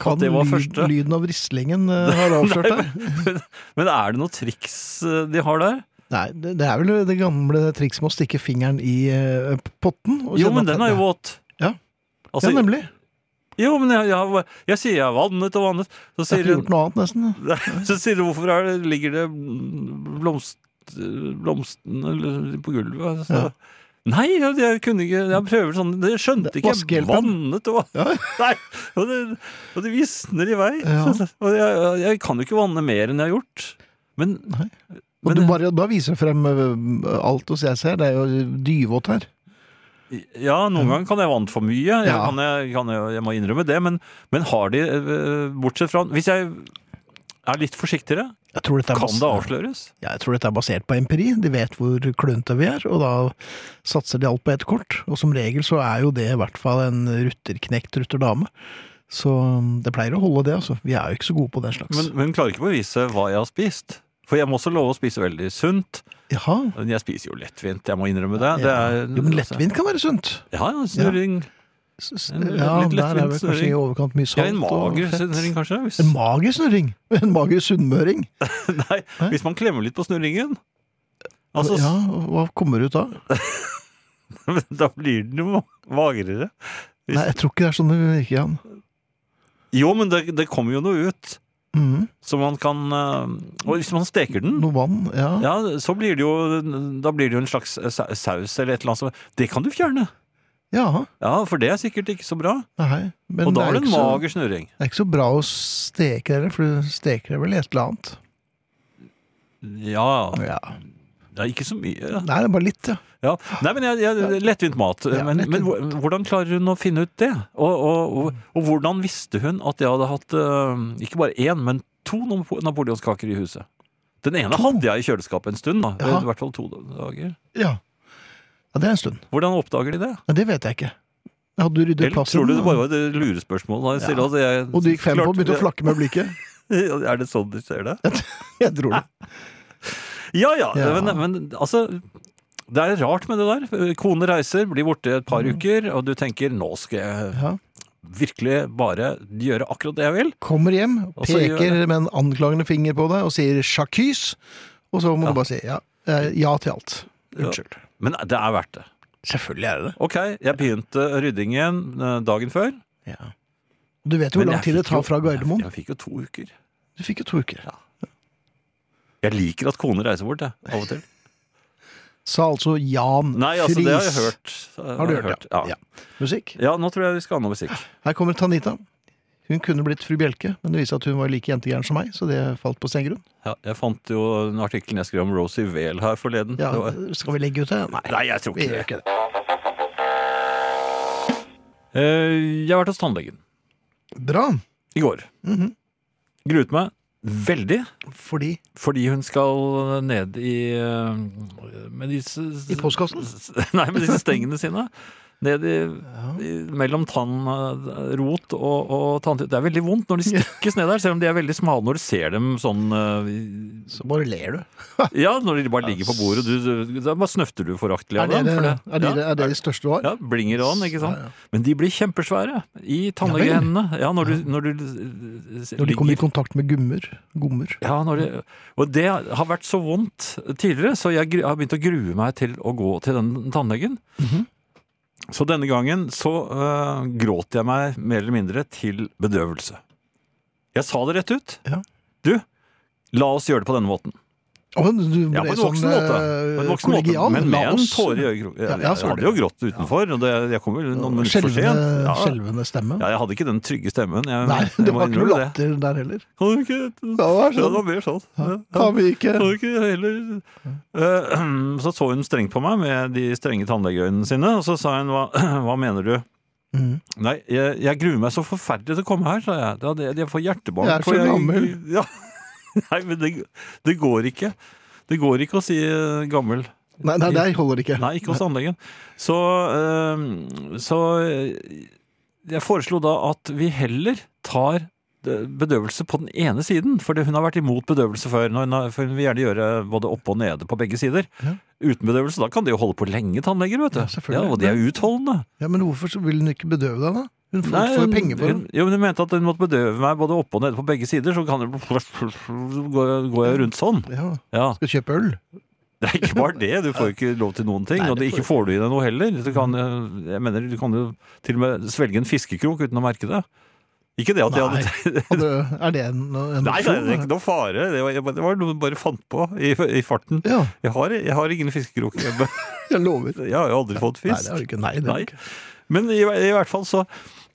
[SPEAKER 2] Kan
[SPEAKER 3] det var
[SPEAKER 2] lyd-
[SPEAKER 3] første.
[SPEAKER 2] lyden av vrislingen eh, har avslørt deg?
[SPEAKER 3] Men er det noe triks øh, de har der?
[SPEAKER 2] Nei, det, det er vel det gamle trikset med å stikke fingeren i eh, potten. og
[SPEAKER 3] Jo,
[SPEAKER 2] kjenne
[SPEAKER 3] men
[SPEAKER 2] at
[SPEAKER 3] den er jo
[SPEAKER 2] det-
[SPEAKER 3] våt.
[SPEAKER 2] Ja.
[SPEAKER 3] Altså,
[SPEAKER 2] ja, nemlig.
[SPEAKER 3] jo, men jeg, jeg, har- jeg sier jeg har vannet og vannet. Så
[SPEAKER 2] Jeg har
[SPEAKER 3] sier
[SPEAKER 2] ikke
[SPEAKER 3] hun
[SPEAKER 2] gjort noe annet, nesten.
[SPEAKER 3] Nei, Så sier du hvorfor er det, ligger det blomst, blomstene eller på gulvet? Så,
[SPEAKER 2] Ja.
[SPEAKER 3] Nei, jeg, jeg kunne ikke Jeg prøver sånn Jeg skjønte ikke. Jeg
[SPEAKER 2] Vaskehjelpen.
[SPEAKER 3] vannet og
[SPEAKER 2] Ja.
[SPEAKER 3] Nei! Og det, og det visner i vei.
[SPEAKER 2] Ja.
[SPEAKER 3] Og jeg, jeg kan jo ikke vanne mer enn jeg har gjort. Men,
[SPEAKER 2] Nei. Og
[SPEAKER 3] men
[SPEAKER 2] du bare, da viser du frem eh, alt hos jeg ser. Det er jo dyvått her.
[SPEAKER 3] Ja, noen ganger kan jeg vanne for mye. Jeg,
[SPEAKER 2] Ja.
[SPEAKER 3] kan, jeg, kan, jeg, jeg må innrømme det. Men, men har de eh, Bortsett fra Hvis jeg er litt forsiktigere,
[SPEAKER 2] Jeg tror dette er
[SPEAKER 3] kan
[SPEAKER 2] bas-
[SPEAKER 3] det avsløres?
[SPEAKER 2] Ja, jeg tror dette er basert på empiri. De vet hvor klønete vi er, og da satser de alt på ett kort. Og som regel så er jo det i hvert fall en rutterknekt rutterdame. Så um, det pleier å holde det, altså. Vi er jo ikke så gode på den slags.
[SPEAKER 3] Men, men hun klarer ikke å bevise hva jeg har spist. For jeg må også love å spise veldig sunt.
[SPEAKER 2] Jaha.
[SPEAKER 3] Men jeg spiser jo lettvint, jeg må innrømme det. det er, altså.
[SPEAKER 2] Ja. Jo, men lettvint kan være sunt.
[SPEAKER 3] Ja, ja, snurring.
[SPEAKER 2] S- s-
[SPEAKER 3] En litt
[SPEAKER 2] Ja,
[SPEAKER 3] lettvint
[SPEAKER 2] der er vel kanskje
[SPEAKER 3] snurring.
[SPEAKER 2] i overkant mye
[SPEAKER 3] Ja,
[SPEAKER 2] salt og
[SPEAKER 3] en mager
[SPEAKER 2] fett.
[SPEAKER 3] snurring, kanskje. Hvis,
[SPEAKER 2] En mager snurring? En mager sunnmøring?
[SPEAKER 3] nei, hvis man klemmer litt på snurringen. Altså,
[SPEAKER 2] ja, hva kommer ut da?
[SPEAKER 3] Da blir den jo magrere. hvis-
[SPEAKER 2] Nei, jeg tror ikke det er sånn det virker, Jan.
[SPEAKER 3] Jo, men det, det kommer jo noe ut.
[SPEAKER 2] Mhm.
[SPEAKER 3] Så man kan eh, Og hvis man steker den
[SPEAKER 2] Noe vann, ja.
[SPEAKER 3] ja, så blir det jo Da blir det jo en slags sa- saus eller et eller annet som Det kan du fjerne!
[SPEAKER 2] Ja,
[SPEAKER 3] Ja, for det er sikkert ikke så bra.
[SPEAKER 2] nei. Men
[SPEAKER 3] og
[SPEAKER 2] det,
[SPEAKER 3] da er
[SPEAKER 2] er
[SPEAKER 3] det en
[SPEAKER 2] ikke så,
[SPEAKER 3] mager snurring.
[SPEAKER 2] det er ikke så bra å steke det, for du steker det vel i et eller annet.
[SPEAKER 3] Ja,
[SPEAKER 2] Ja.
[SPEAKER 3] Ja, ikke så mye.
[SPEAKER 2] Nei, det er bare litt, ja.
[SPEAKER 3] Ja. Nei, men jeg, jeg, lettvint mat.
[SPEAKER 2] Ja,
[SPEAKER 3] men,
[SPEAKER 2] lettvint
[SPEAKER 3] men hvor- hvordan klarer hun å finne ut det? Og, og, og, og hvordan visste hun at jeg hadde hatt eh, ikke bare én, men to napo- napoleonskaker i huset? Den ene hadde jeg i kjøleskapet en stund, da.
[SPEAKER 2] Jaha.
[SPEAKER 3] i hvert fall to dager.
[SPEAKER 2] ja. Ja, det er en stund.
[SPEAKER 3] Hvordan oppdager de det?
[SPEAKER 2] Nei, det vet jeg ikke. Hadde du ryddet
[SPEAKER 3] Eller
[SPEAKER 2] plassen?
[SPEAKER 3] tror du det bare var et lurespørsmål? da jeg stiller?
[SPEAKER 2] Ja.
[SPEAKER 3] Altså, jeg,
[SPEAKER 2] Og du gikk feil på og begynte å
[SPEAKER 3] klarte-
[SPEAKER 2] flakke med blikket?
[SPEAKER 3] Er det sånn du ser det?
[SPEAKER 2] Jeg tror det.
[SPEAKER 3] Ja, ja,
[SPEAKER 2] Ja.
[SPEAKER 3] Men, men altså Det er rart med det der. Kone reiser, blir borte et par uker, og du tenker 'nå skal jeg
[SPEAKER 2] Mm. Ja.
[SPEAKER 3] virkelig bare gjøre akkurat det jeg vil.
[SPEAKER 2] Kommer hjem,
[SPEAKER 3] Og så gjør
[SPEAKER 2] peker med en anklagende finger på deg og sier 'sjakkys', og så må
[SPEAKER 3] Ja.
[SPEAKER 2] du bare si ja, eh, ja til alt. Unnskyld.
[SPEAKER 3] Men det er verdt det.
[SPEAKER 2] Selvfølgelig er det det.
[SPEAKER 3] Ok, jeg begynte ryddingen eh, dagen før.
[SPEAKER 2] Ja. Du vet jo hvor
[SPEAKER 3] men
[SPEAKER 2] lang
[SPEAKER 3] jeg
[SPEAKER 2] tid det
[SPEAKER 3] fikk
[SPEAKER 2] tar
[SPEAKER 3] jo-
[SPEAKER 2] fra Gardermoen.
[SPEAKER 3] Jeg, jeg fikk jo to uker.
[SPEAKER 2] Du fikk jo to uker.
[SPEAKER 3] Jeg liker at kone reiser bort, jeg, av og til.
[SPEAKER 2] Sa altså Jan
[SPEAKER 3] Nei, altså, det har jeg
[SPEAKER 2] Friis.
[SPEAKER 3] hørt. Eh,
[SPEAKER 2] Har du hørt, ja.
[SPEAKER 3] Ja.
[SPEAKER 2] Musikk.
[SPEAKER 3] ja, nå tror jeg vi skal ha noe musikk.
[SPEAKER 2] Her kommer Tanita. Hun kunne blitt fru Bjelke, men det viste at hun var like jentegæren som meg, så det falt på stengrunn.
[SPEAKER 3] Ja, jeg fant jo en artikkel jeg skrev om Rosie Vail her forleden.
[SPEAKER 2] Ja,
[SPEAKER 3] Det var-
[SPEAKER 2] skal vi legge ut det? Nei,
[SPEAKER 3] Nei, jeg tror
[SPEAKER 2] vi
[SPEAKER 3] ikke
[SPEAKER 2] gjør
[SPEAKER 3] det.
[SPEAKER 2] ikke det.
[SPEAKER 3] Eh, Jeg har vært hos tannlegen
[SPEAKER 2] Bra,
[SPEAKER 3] i går.
[SPEAKER 2] Mhm.
[SPEAKER 3] Gruet meg veldig,
[SPEAKER 2] fordi
[SPEAKER 3] fordi hun skal ned i eh, Med disse
[SPEAKER 2] I postkassen?
[SPEAKER 3] Nei, med disse stengene sine. ned i, i, mellom tannrot og, og tanntitt. Det er veldig vondt når de stikkes ned der, selv om de er veldig smale når du ser dem sånn eh,
[SPEAKER 2] Så bare ler du.
[SPEAKER 3] i- Ja, når de bare ligger på bordet. Du, du, da bare snøfter du foraktelig
[SPEAKER 2] Er
[SPEAKER 3] av
[SPEAKER 2] det
[SPEAKER 3] dem.
[SPEAKER 2] det,
[SPEAKER 3] for det-
[SPEAKER 2] er det,
[SPEAKER 3] ja.
[SPEAKER 2] er det de største du har?
[SPEAKER 3] Ja, blinger og an, ikke sant?
[SPEAKER 2] Ja,
[SPEAKER 3] Men de blir kjempesvære i tannlegehendene. Ja, når du, når du eh,
[SPEAKER 2] Når de kommer i
[SPEAKER 3] ligger-
[SPEAKER 2] kontakt med gummer. Gommer.
[SPEAKER 3] ja, når de, og det har vært så vondt tidligere, så jeg gru- har begynt å grue meg til å gå til den tannlegen.
[SPEAKER 2] Mhm.
[SPEAKER 3] Så denne gangen så eh, gråt jeg meg mer eller mindre til bedøvelse. Jeg sa det rett ut.
[SPEAKER 2] Ja.
[SPEAKER 3] Du, la oss gjøre det på denne måten.
[SPEAKER 2] Å, du
[SPEAKER 3] Ja, på
[SPEAKER 2] ble
[SPEAKER 3] en
[SPEAKER 2] sånn
[SPEAKER 3] voksen måte. På en
[SPEAKER 2] eh,
[SPEAKER 3] voksen måte.
[SPEAKER 2] kollegial.
[SPEAKER 3] Men med
[SPEAKER 2] La
[SPEAKER 3] en
[SPEAKER 2] oss-
[SPEAKER 3] tåre i øyekroken.
[SPEAKER 2] Ja,
[SPEAKER 3] Jeg, jeg,
[SPEAKER 2] ja, så var
[SPEAKER 3] hadde
[SPEAKER 2] det.
[SPEAKER 3] jo grått utenfor, og det, jeg kom vel noen minutter for sent.
[SPEAKER 2] Skjelvende,
[SPEAKER 3] Ja.
[SPEAKER 2] skjelvende stemme.
[SPEAKER 3] Ja, jeg hadde ikke den trygge stemmen. Jeg,
[SPEAKER 2] Nei, det
[SPEAKER 3] jeg må
[SPEAKER 2] var ikke noe
[SPEAKER 3] innrømme
[SPEAKER 2] latter der heller.
[SPEAKER 3] Kan du ikke
[SPEAKER 2] Ja, det var
[SPEAKER 3] Ja, det
[SPEAKER 2] sånn.
[SPEAKER 3] var mer sånn. Ja, ja.
[SPEAKER 2] Kan vi ikke
[SPEAKER 3] Kan du ikke heller Eh, Så så hun strengt på meg med de strenge tannlegeøynene sine, og så sa hun hva, hva mener du?
[SPEAKER 2] Mhm.
[SPEAKER 3] Nei, jeg, jeg gruer meg så forferdelig til å komme her, sa jeg. Da- det- Jeg får hjertebank.
[SPEAKER 2] Jeg er så
[SPEAKER 3] og
[SPEAKER 2] gammel.
[SPEAKER 3] Ja. Nei, men det, det går ikke. Det går ikke å si eh, gammel.
[SPEAKER 2] Nei, nei, det holder ikke.
[SPEAKER 3] Nei, ikke hos tannlegen. Så, eh, så eh, jeg foreslo da at vi heller tar eh, bedøvelse på den ene siden, for hun har vært imot bedøvelse før, når hun har, for hun vil gjerne gjøre både oppe og nede på begge sider.
[SPEAKER 2] Ja.
[SPEAKER 3] Uten bedøvelse, da kan de jo holde på lenge, tannleger, vet du.
[SPEAKER 2] Ja, selvfølgelig.
[SPEAKER 3] og de er utholdende.
[SPEAKER 2] Ja, Men hvorfor så vil hun ikke bedøve deg, da? Hun får, får jo penger for
[SPEAKER 3] hun,
[SPEAKER 2] det.
[SPEAKER 3] jo, men hun mente at hun måtte bedøve meg både oppe og nede på begge sider, så kan det går jeg- går jeg rundt sånn.
[SPEAKER 2] Ja,
[SPEAKER 3] Ja.
[SPEAKER 2] skal kjøpe øl.
[SPEAKER 3] Det er ikke bare det, du får jo ikke lov til noen ting.
[SPEAKER 2] Nei, det
[SPEAKER 3] og det
[SPEAKER 2] får
[SPEAKER 3] ikke får du i deg noe heller. Du kan, eh, jeg mener, du kan jo til og med svelge en fiskekrok uten å merke det. Ikke det at jeg
[SPEAKER 2] Nei.
[SPEAKER 3] hadde
[SPEAKER 2] Og det, er det en, en
[SPEAKER 3] Nei, det
[SPEAKER 2] opsjon,
[SPEAKER 3] er ikke noe fare. Det var, jeg bare- det var noe du bare fant på i, i farten.
[SPEAKER 2] Ja,
[SPEAKER 3] Jeg har, jeg har ingen fiskekroker hjemme.
[SPEAKER 2] jeg lover.
[SPEAKER 3] Jeg har jo aldri fått
[SPEAKER 2] Nei, det
[SPEAKER 3] fisk.
[SPEAKER 2] er det ikke. Nei, det er
[SPEAKER 3] Nei.
[SPEAKER 2] det ikke.
[SPEAKER 3] Men i, i hvert fall så,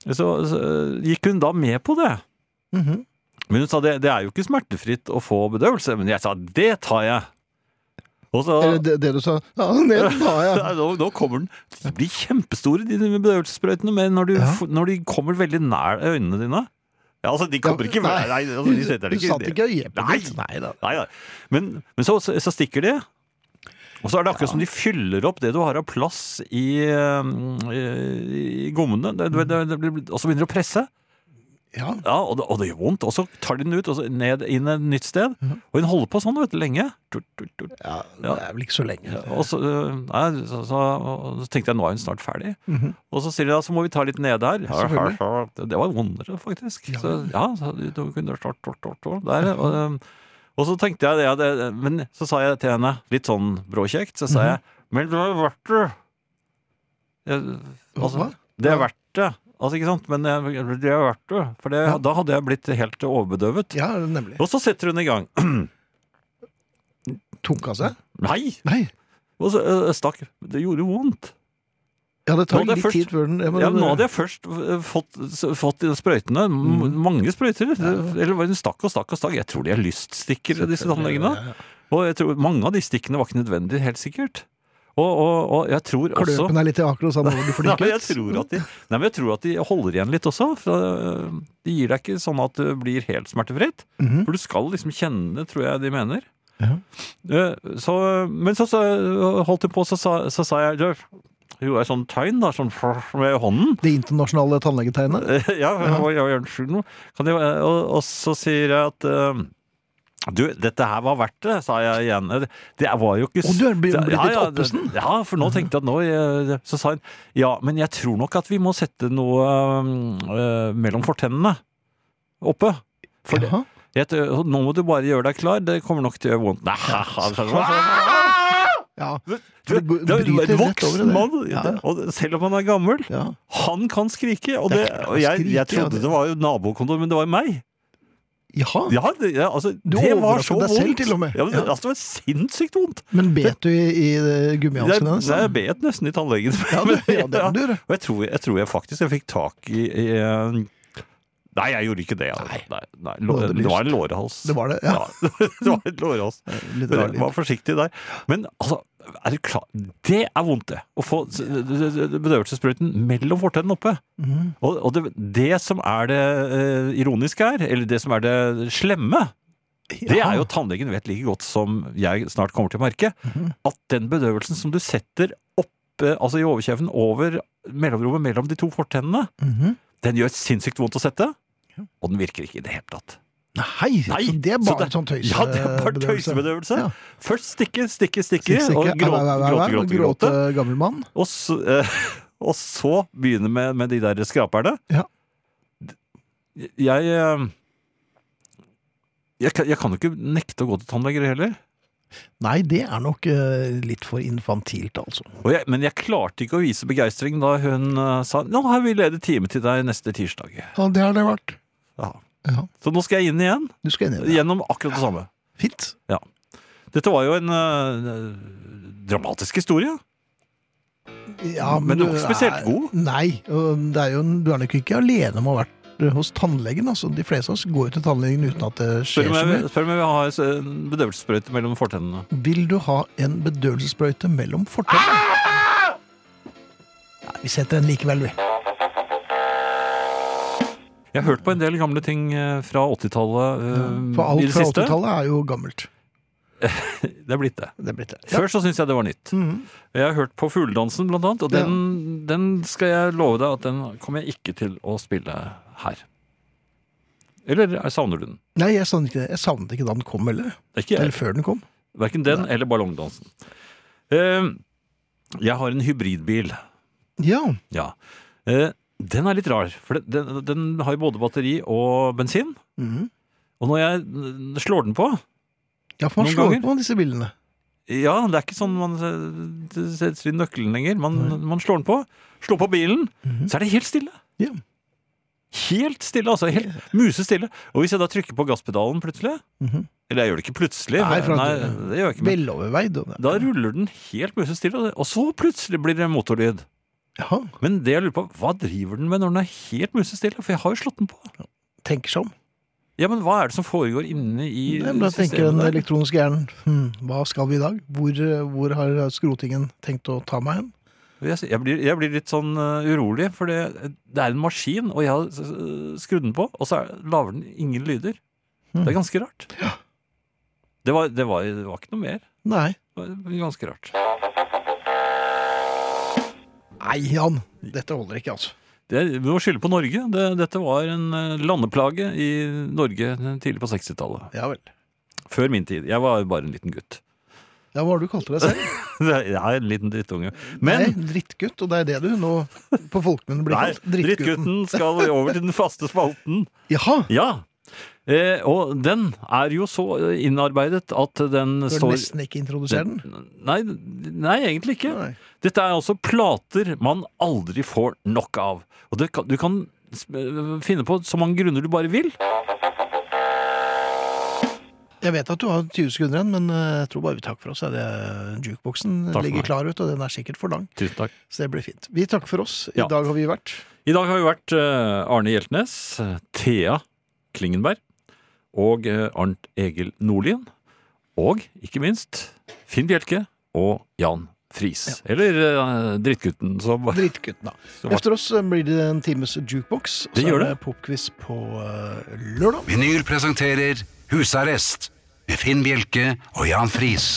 [SPEAKER 3] så, så gikk hun da med på det.
[SPEAKER 2] Mhm.
[SPEAKER 3] Men hun sa det, det er jo ikke smertefritt å få bedøvelse. Men jeg sa det tar jeg. Og så,
[SPEAKER 2] Eller det, det du sa Ja, ned tar jeg.
[SPEAKER 3] Nei, nå, nå kommer den De blir kjempestore, de de bedøvelsessprøytene, men når, du,
[SPEAKER 2] Ja.
[SPEAKER 3] f- når de kommer veldig nær øynene dine Ja, altså, de kommer
[SPEAKER 2] Ja,
[SPEAKER 3] ikke
[SPEAKER 2] nei.
[SPEAKER 3] nær Nei, altså, de setter det
[SPEAKER 2] Du satt
[SPEAKER 3] ikke
[SPEAKER 2] ikke øyet på
[SPEAKER 3] Nei.
[SPEAKER 2] ditt. Nei da.
[SPEAKER 3] Nei, nei. Men, men så, så, så stikker de. Og så er det akkurat som de fyller opp det du har av plass i, eh, i, i gommene. Det, det, det, det, blir- og så begynner de å presse.
[SPEAKER 2] Ja.
[SPEAKER 3] Ja, og det, og det gjør vondt. Og så tar de den ut, og så ned inn et nytt sted. Og hun holder på sånn vet du, lenge. Tut, tut, tut.
[SPEAKER 2] ja, det er vel ikke så lenge.
[SPEAKER 3] Og så, øh, nei, så, så, og så tenkte jeg nå er hun snart ferdig. Og så sier de ja, så må vi ta litt nede her.
[SPEAKER 2] Mhm. selvfølgelig.
[SPEAKER 3] Det, det var vondere, faktisk. Ja, så, ja, så du, du kunne start, start, start, start, der, og, øhm, og så tenkte jeg ja, det, Men så sa jeg til henne, litt sånn bråkjekt, så sa
[SPEAKER 2] Mhm.
[SPEAKER 3] jeg Men det er verdt det. Jeg- Altså,
[SPEAKER 2] Hva?
[SPEAKER 3] det er verdt det. Altså, ikke sant? Men jeg- det er verdt det. For det, da hadde jeg blitt helt overbedøvet.
[SPEAKER 2] Ja, nemlig.
[SPEAKER 3] Og så setter hun i gang.
[SPEAKER 2] Tunka seg?
[SPEAKER 3] Nei!
[SPEAKER 2] Nei.
[SPEAKER 3] Og så øh, stakk. Det gjorde vondt.
[SPEAKER 2] Ja, det
[SPEAKER 3] Nå
[SPEAKER 2] tar
[SPEAKER 3] hadde jeg
[SPEAKER 2] litt
[SPEAKER 3] først-
[SPEAKER 2] tid før den ja, men-
[SPEAKER 3] Ja, men nå hadde jeg først eh, fått, s- fått de sprøytene. M-
[SPEAKER 2] Mm.
[SPEAKER 3] Mange sprøyter. Eller var det stakk og stakk og stakk. Jeg tror de er lyststikker, disse tannlegene.
[SPEAKER 2] Ja, ja.
[SPEAKER 3] Og jeg tror mange av de stikkene var ikke nødvendige, helt sikkert. Og, og, og jeg tror også
[SPEAKER 2] Kløpen er litt i akkurat samme hvor du flinker
[SPEAKER 3] Nei, men jeg tror, at de, nei, men jeg tror at de holder igjen litt også. For eh, de gir deg ikke sånn at det blir helt smertefritt. For du skal liksom kjenne, tror jeg de mener.
[SPEAKER 2] Mhm. Ja.
[SPEAKER 3] Eh, Så, men så, så holdt hun på, så sa, så sa jeg "Du," Gjorde jeg sånn tegn, da, sånn med hånden.
[SPEAKER 2] Det internasjonale tannlegetegnet?
[SPEAKER 3] Eh, Ja, jeg var- jeg var gjerne sjuk nå. Kan jeg, eh, og, og så sier jeg at eh, du, dette her var verdt det, sa jeg igjen. Eh, Det var jo ikke s-
[SPEAKER 2] Å, du er blitt
[SPEAKER 3] det-
[SPEAKER 2] litt
[SPEAKER 3] det-
[SPEAKER 2] oppesen.
[SPEAKER 3] Ja, for nå tenkte jeg at nå eh, Så sa hun ja, men jeg tror nok at vi må sette noe eh, mellom fortennene oppe. For det,
[SPEAKER 2] Jaha.
[SPEAKER 3] jeg, t- nå må du bare gjøre deg klar, det kommer nok til å gjøre vondt. Nei,
[SPEAKER 2] Ja.
[SPEAKER 3] Du,
[SPEAKER 2] For det går-
[SPEAKER 3] det er jo
[SPEAKER 2] bryter
[SPEAKER 3] en
[SPEAKER 2] rett over i
[SPEAKER 3] voksen
[SPEAKER 2] det.
[SPEAKER 3] mann,
[SPEAKER 2] Ja.
[SPEAKER 3] det- og selv om han er gammel.
[SPEAKER 2] ja.
[SPEAKER 3] Han kan skrike, og,
[SPEAKER 2] Det er
[SPEAKER 3] det,
[SPEAKER 2] ikke noe å
[SPEAKER 3] og jeg, jeg
[SPEAKER 2] skrike, ja,
[SPEAKER 3] trodde
[SPEAKER 2] det-
[SPEAKER 3] det var jo nabokontor, men det var jo meg.
[SPEAKER 2] Jaha.
[SPEAKER 3] Ja, det, ja, altså,
[SPEAKER 2] Du
[SPEAKER 3] det var
[SPEAKER 2] overrasket
[SPEAKER 3] så
[SPEAKER 2] deg
[SPEAKER 3] vondt.
[SPEAKER 2] selv til og med.
[SPEAKER 3] Ja, men, det-
[SPEAKER 2] Ja.
[SPEAKER 3] Altså, det var sinnssykt vondt.
[SPEAKER 2] Men bet du i, i
[SPEAKER 3] Jeg,
[SPEAKER 2] gummihanskene hennes?
[SPEAKER 3] jeg bet nesten i tannlegen.
[SPEAKER 2] sånn. Ja, du, ja, det
[SPEAKER 3] Ja.
[SPEAKER 2] må du gjøre.
[SPEAKER 3] Og jeg tror, jeg tror jeg faktisk jeg fikk tak i, i eh, Nei, jeg gjorde ikke det. altså.
[SPEAKER 2] Nei.
[SPEAKER 3] Nei, nei, lå-
[SPEAKER 2] Nå hadde du
[SPEAKER 3] det var en lårhals.
[SPEAKER 2] Det var det, ja.
[SPEAKER 3] det var en lårhals.
[SPEAKER 2] Litt rar lyd.
[SPEAKER 3] Vær forsiktig der. Men altså, er du klar Det er vondt, det. Å få s- bedøvelsessprøyten mellom fortennene oppe.
[SPEAKER 2] Mhm,
[SPEAKER 3] Og, og det, det som er det eh, ironiske her, eller det som er det slemme, det
[SPEAKER 2] Ja.
[SPEAKER 3] er jo at
[SPEAKER 2] mhm,
[SPEAKER 3] tannlegen vet like godt som jeg snart kommer til å merke, at den bedøvelsen som du setter oppe, altså i overkjeven over mellomrommet mellom de to fortennene.
[SPEAKER 2] Mhm.
[SPEAKER 3] Den gjør sinnssykt vondt å sette, og den virker ikke i det hele tatt.
[SPEAKER 2] Nei,
[SPEAKER 3] Nei,
[SPEAKER 2] så det er
[SPEAKER 3] så
[SPEAKER 2] bare
[SPEAKER 3] det-
[SPEAKER 2] sånn tøys
[SPEAKER 3] Ja, det er bare tøysebedøvelse.
[SPEAKER 2] Ja.
[SPEAKER 3] Først stikke, stikke, stikke,
[SPEAKER 2] Stikk,
[SPEAKER 3] og
[SPEAKER 2] stikke, au, au,
[SPEAKER 3] gråte,
[SPEAKER 2] au, au,
[SPEAKER 3] gråte, gråte. gråte.
[SPEAKER 2] gammel mann.
[SPEAKER 3] Og så, eh, og så begynne med, med de der skraperne.
[SPEAKER 2] Ja.
[SPEAKER 3] D- Jeg eh, jeg kan, jeg kan jo ikke nekte å gå til tannleger heller.
[SPEAKER 2] Nei, det er nok eh, litt for infantilt, altså.
[SPEAKER 3] Og jeg, men jeg klarte ikke å vise begeistring da hun eh, sa nå har vi ledig time til deg neste tirsdag.
[SPEAKER 2] Ja, det har det vært.
[SPEAKER 3] Ja.
[SPEAKER 2] Ja.
[SPEAKER 3] Så nå skal jeg inn igjen,
[SPEAKER 2] Du skal inn i det.
[SPEAKER 3] gjennom akkurat det samme.
[SPEAKER 2] Fint.
[SPEAKER 3] Dette var jo en eh, dramatisk historie.
[SPEAKER 2] Ja,
[SPEAKER 3] Men du var ikke spesielt
[SPEAKER 2] er-
[SPEAKER 3] god.
[SPEAKER 2] Nei, og det er jo, en- du er nok ikke alene om å ha vært eh, hos tannlegen. altså. De fleste av oss går jo til tannlegen uten at det
[SPEAKER 3] Spør
[SPEAKER 2] skjer
[SPEAKER 3] om
[SPEAKER 2] så
[SPEAKER 3] jeg,
[SPEAKER 2] mye.
[SPEAKER 3] spør om jeg vil ha en bedøvelsessprøyte mellom fortennene.
[SPEAKER 2] Vil du ha en bedøvelsessprøyte mellom fortennene? Nei, vi setter den likevel, vi.
[SPEAKER 3] Jeg har hørt på en del gamle ting eh, fra 80-tallet eh,
[SPEAKER 2] For
[SPEAKER 3] i
[SPEAKER 2] alt
[SPEAKER 3] det
[SPEAKER 2] fra
[SPEAKER 3] siste.
[SPEAKER 2] 80-tallet er jo gammelt.
[SPEAKER 3] Det er blitt det.
[SPEAKER 2] Det er blitt det. Ja.
[SPEAKER 3] Før så syntes jeg det var nytt.
[SPEAKER 2] Mhm.
[SPEAKER 3] Jeg har hørt på Fugledansen blant annet, og den, den skal jeg love deg at den kommer jeg ikke til å spille her. Eller eh, savner du den?
[SPEAKER 2] Nei, jeg savnet ikke det. Jeg savnet ikke da den kom, heller.
[SPEAKER 3] Det er ikke
[SPEAKER 2] Eller
[SPEAKER 3] jeg.
[SPEAKER 2] før den kom.
[SPEAKER 3] Verken den eller ballongdansen. Eh, Jeg har en hybridbil.
[SPEAKER 2] Ja.
[SPEAKER 3] Ja. Eh, Den er litt rar, for den, den, den har jo både batteri og bensin.
[SPEAKER 2] Mhm.
[SPEAKER 3] Og når jeg eh, slår den på
[SPEAKER 2] Ja, for man
[SPEAKER 3] Noen
[SPEAKER 2] slår
[SPEAKER 3] ganger.
[SPEAKER 2] på disse bilene.
[SPEAKER 3] Ja, det er ikke sånn man eh, setter inn nøkkelen lenger. Man, man slår den på, slår på bilen, så er det helt stille.
[SPEAKER 2] Mhm. Ja.
[SPEAKER 3] Helt stille, altså. Helt musestille. Og hvis jeg da trykker på gasspedalen plutselig
[SPEAKER 2] Mhm.
[SPEAKER 3] Eller jeg gjør det ikke plutselig,
[SPEAKER 2] Nei, for
[SPEAKER 3] for,
[SPEAKER 2] at-
[SPEAKER 3] nei det gjør jeg ikke. Men,
[SPEAKER 2] Veloverveid. og det-
[SPEAKER 3] da ruller den helt musestille, og- og så plutselig blir det motorlyd.
[SPEAKER 2] Ja,
[SPEAKER 3] Men det jeg lurer på, hva driver den med når den er helt musestille? For jeg har jo slått den på.
[SPEAKER 2] tenker seg om.
[SPEAKER 3] Ja, men hva er det som foregår inne i
[SPEAKER 2] Nei, men Da tenker den liksom
[SPEAKER 3] systemet? der?
[SPEAKER 2] elektroniske hjernen hm, hva skal vi i dag? Hvor, eh, hvor har skrotingen tenkt å ta meg hen?
[SPEAKER 3] Jeg, jeg, blir, jeg blir litt sånn eh, urolig, for det, det er en maskin, og jeg har eh, skrudd den på, og så er- lager den ingen lyder.
[SPEAKER 2] Hmm.
[SPEAKER 3] Det er ganske rart. Det var, det, var, det var ikke noe mer.
[SPEAKER 2] Nei.
[SPEAKER 3] Det var ganske rart.
[SPEAKER 2] Nei, Jan. Dette holder ikke, altså.
[SPEAKER 3] Det, vi må skylde på Norge. Det, dette var en eh, landeplage i Norge tidlig på 60-tallet.
[SPEAKER 2] Ja vel.
[SPEAKER 3] Før min tid. Jeg var jo bare en liten gutt.
[SPEAKER 2] Ja, Hva har du kalt deg selv?
[SPEAKER 3] Jeg er en liten drittunge. Men
[SPEAKER 2] Nei, drittgutt, og det er det du nå på folkemunne blir
[SPEAKER 3] nei,
[SPEAKER 2] kalt. Drittgutten.
[SPEAKER 3] drittgutten skal over til den faste spalten.
[SPEAKER 2] Jaha!
[SPEAKER 3] Ja. Eh, og den er jo så eh, innarbeidet at den
[SPEAKER 2] Du vil
[SPEAKER 3] står
[SPEAKER 2] nesten ikke introdusere den?
[SPEAKER 3] Nei, nei, egentlig ikke.
[SPEAKER 2] Nei.
[SPEAKER 3] Dette er altså plater man aldri får nok av. Og det kan, du kan sp- finne på så mange grunner du bare vil.
[SPEAKER 2] Jeg vet at du har 20 sekunder igjen, men eh, jeg tror bare vi takker for oss. Er det jukeboksen
[SPEAKER 3] for
[SPEAKER 2] ligger
[SPEAKER 3] meg.
[SPEAKER 2] klar ute, og den er sikkert for lang.
[SPEAKER 3] Tusen takk.
[SPEAKER 2] Så det blir fint. Vi takker for oss. I
[SPEAKER 3] Ja.
[SPEAKER 2] dag har vi vært
[SPEAKER 3] I dag har vi vært eh, Arne Hjeltnes, eh, Thea Klingenberg og eh, Arnt Egil Nordlien. Og ikke minst Finn Bjelke og Jan Friis. Eller eh, Drittgutten, som
[SPEAKER 2] Drittgutten, da.
[SPEAKER 3] Så-
[SPEAKER 2] Efter oss eh, blir det en times jukebox. og
[SPEAKER 3] Det
[SPEAKER 2] så
[SPEAKER 3] gjør
[SPEAKER 2] er
[SPEAKER 3] det.
[SPEAKER 2] Popquiz på eh, lørdag.
[SPEAKER 1] Vinyl presenterer Husarrest med Finn Bjelke og Jan Friis.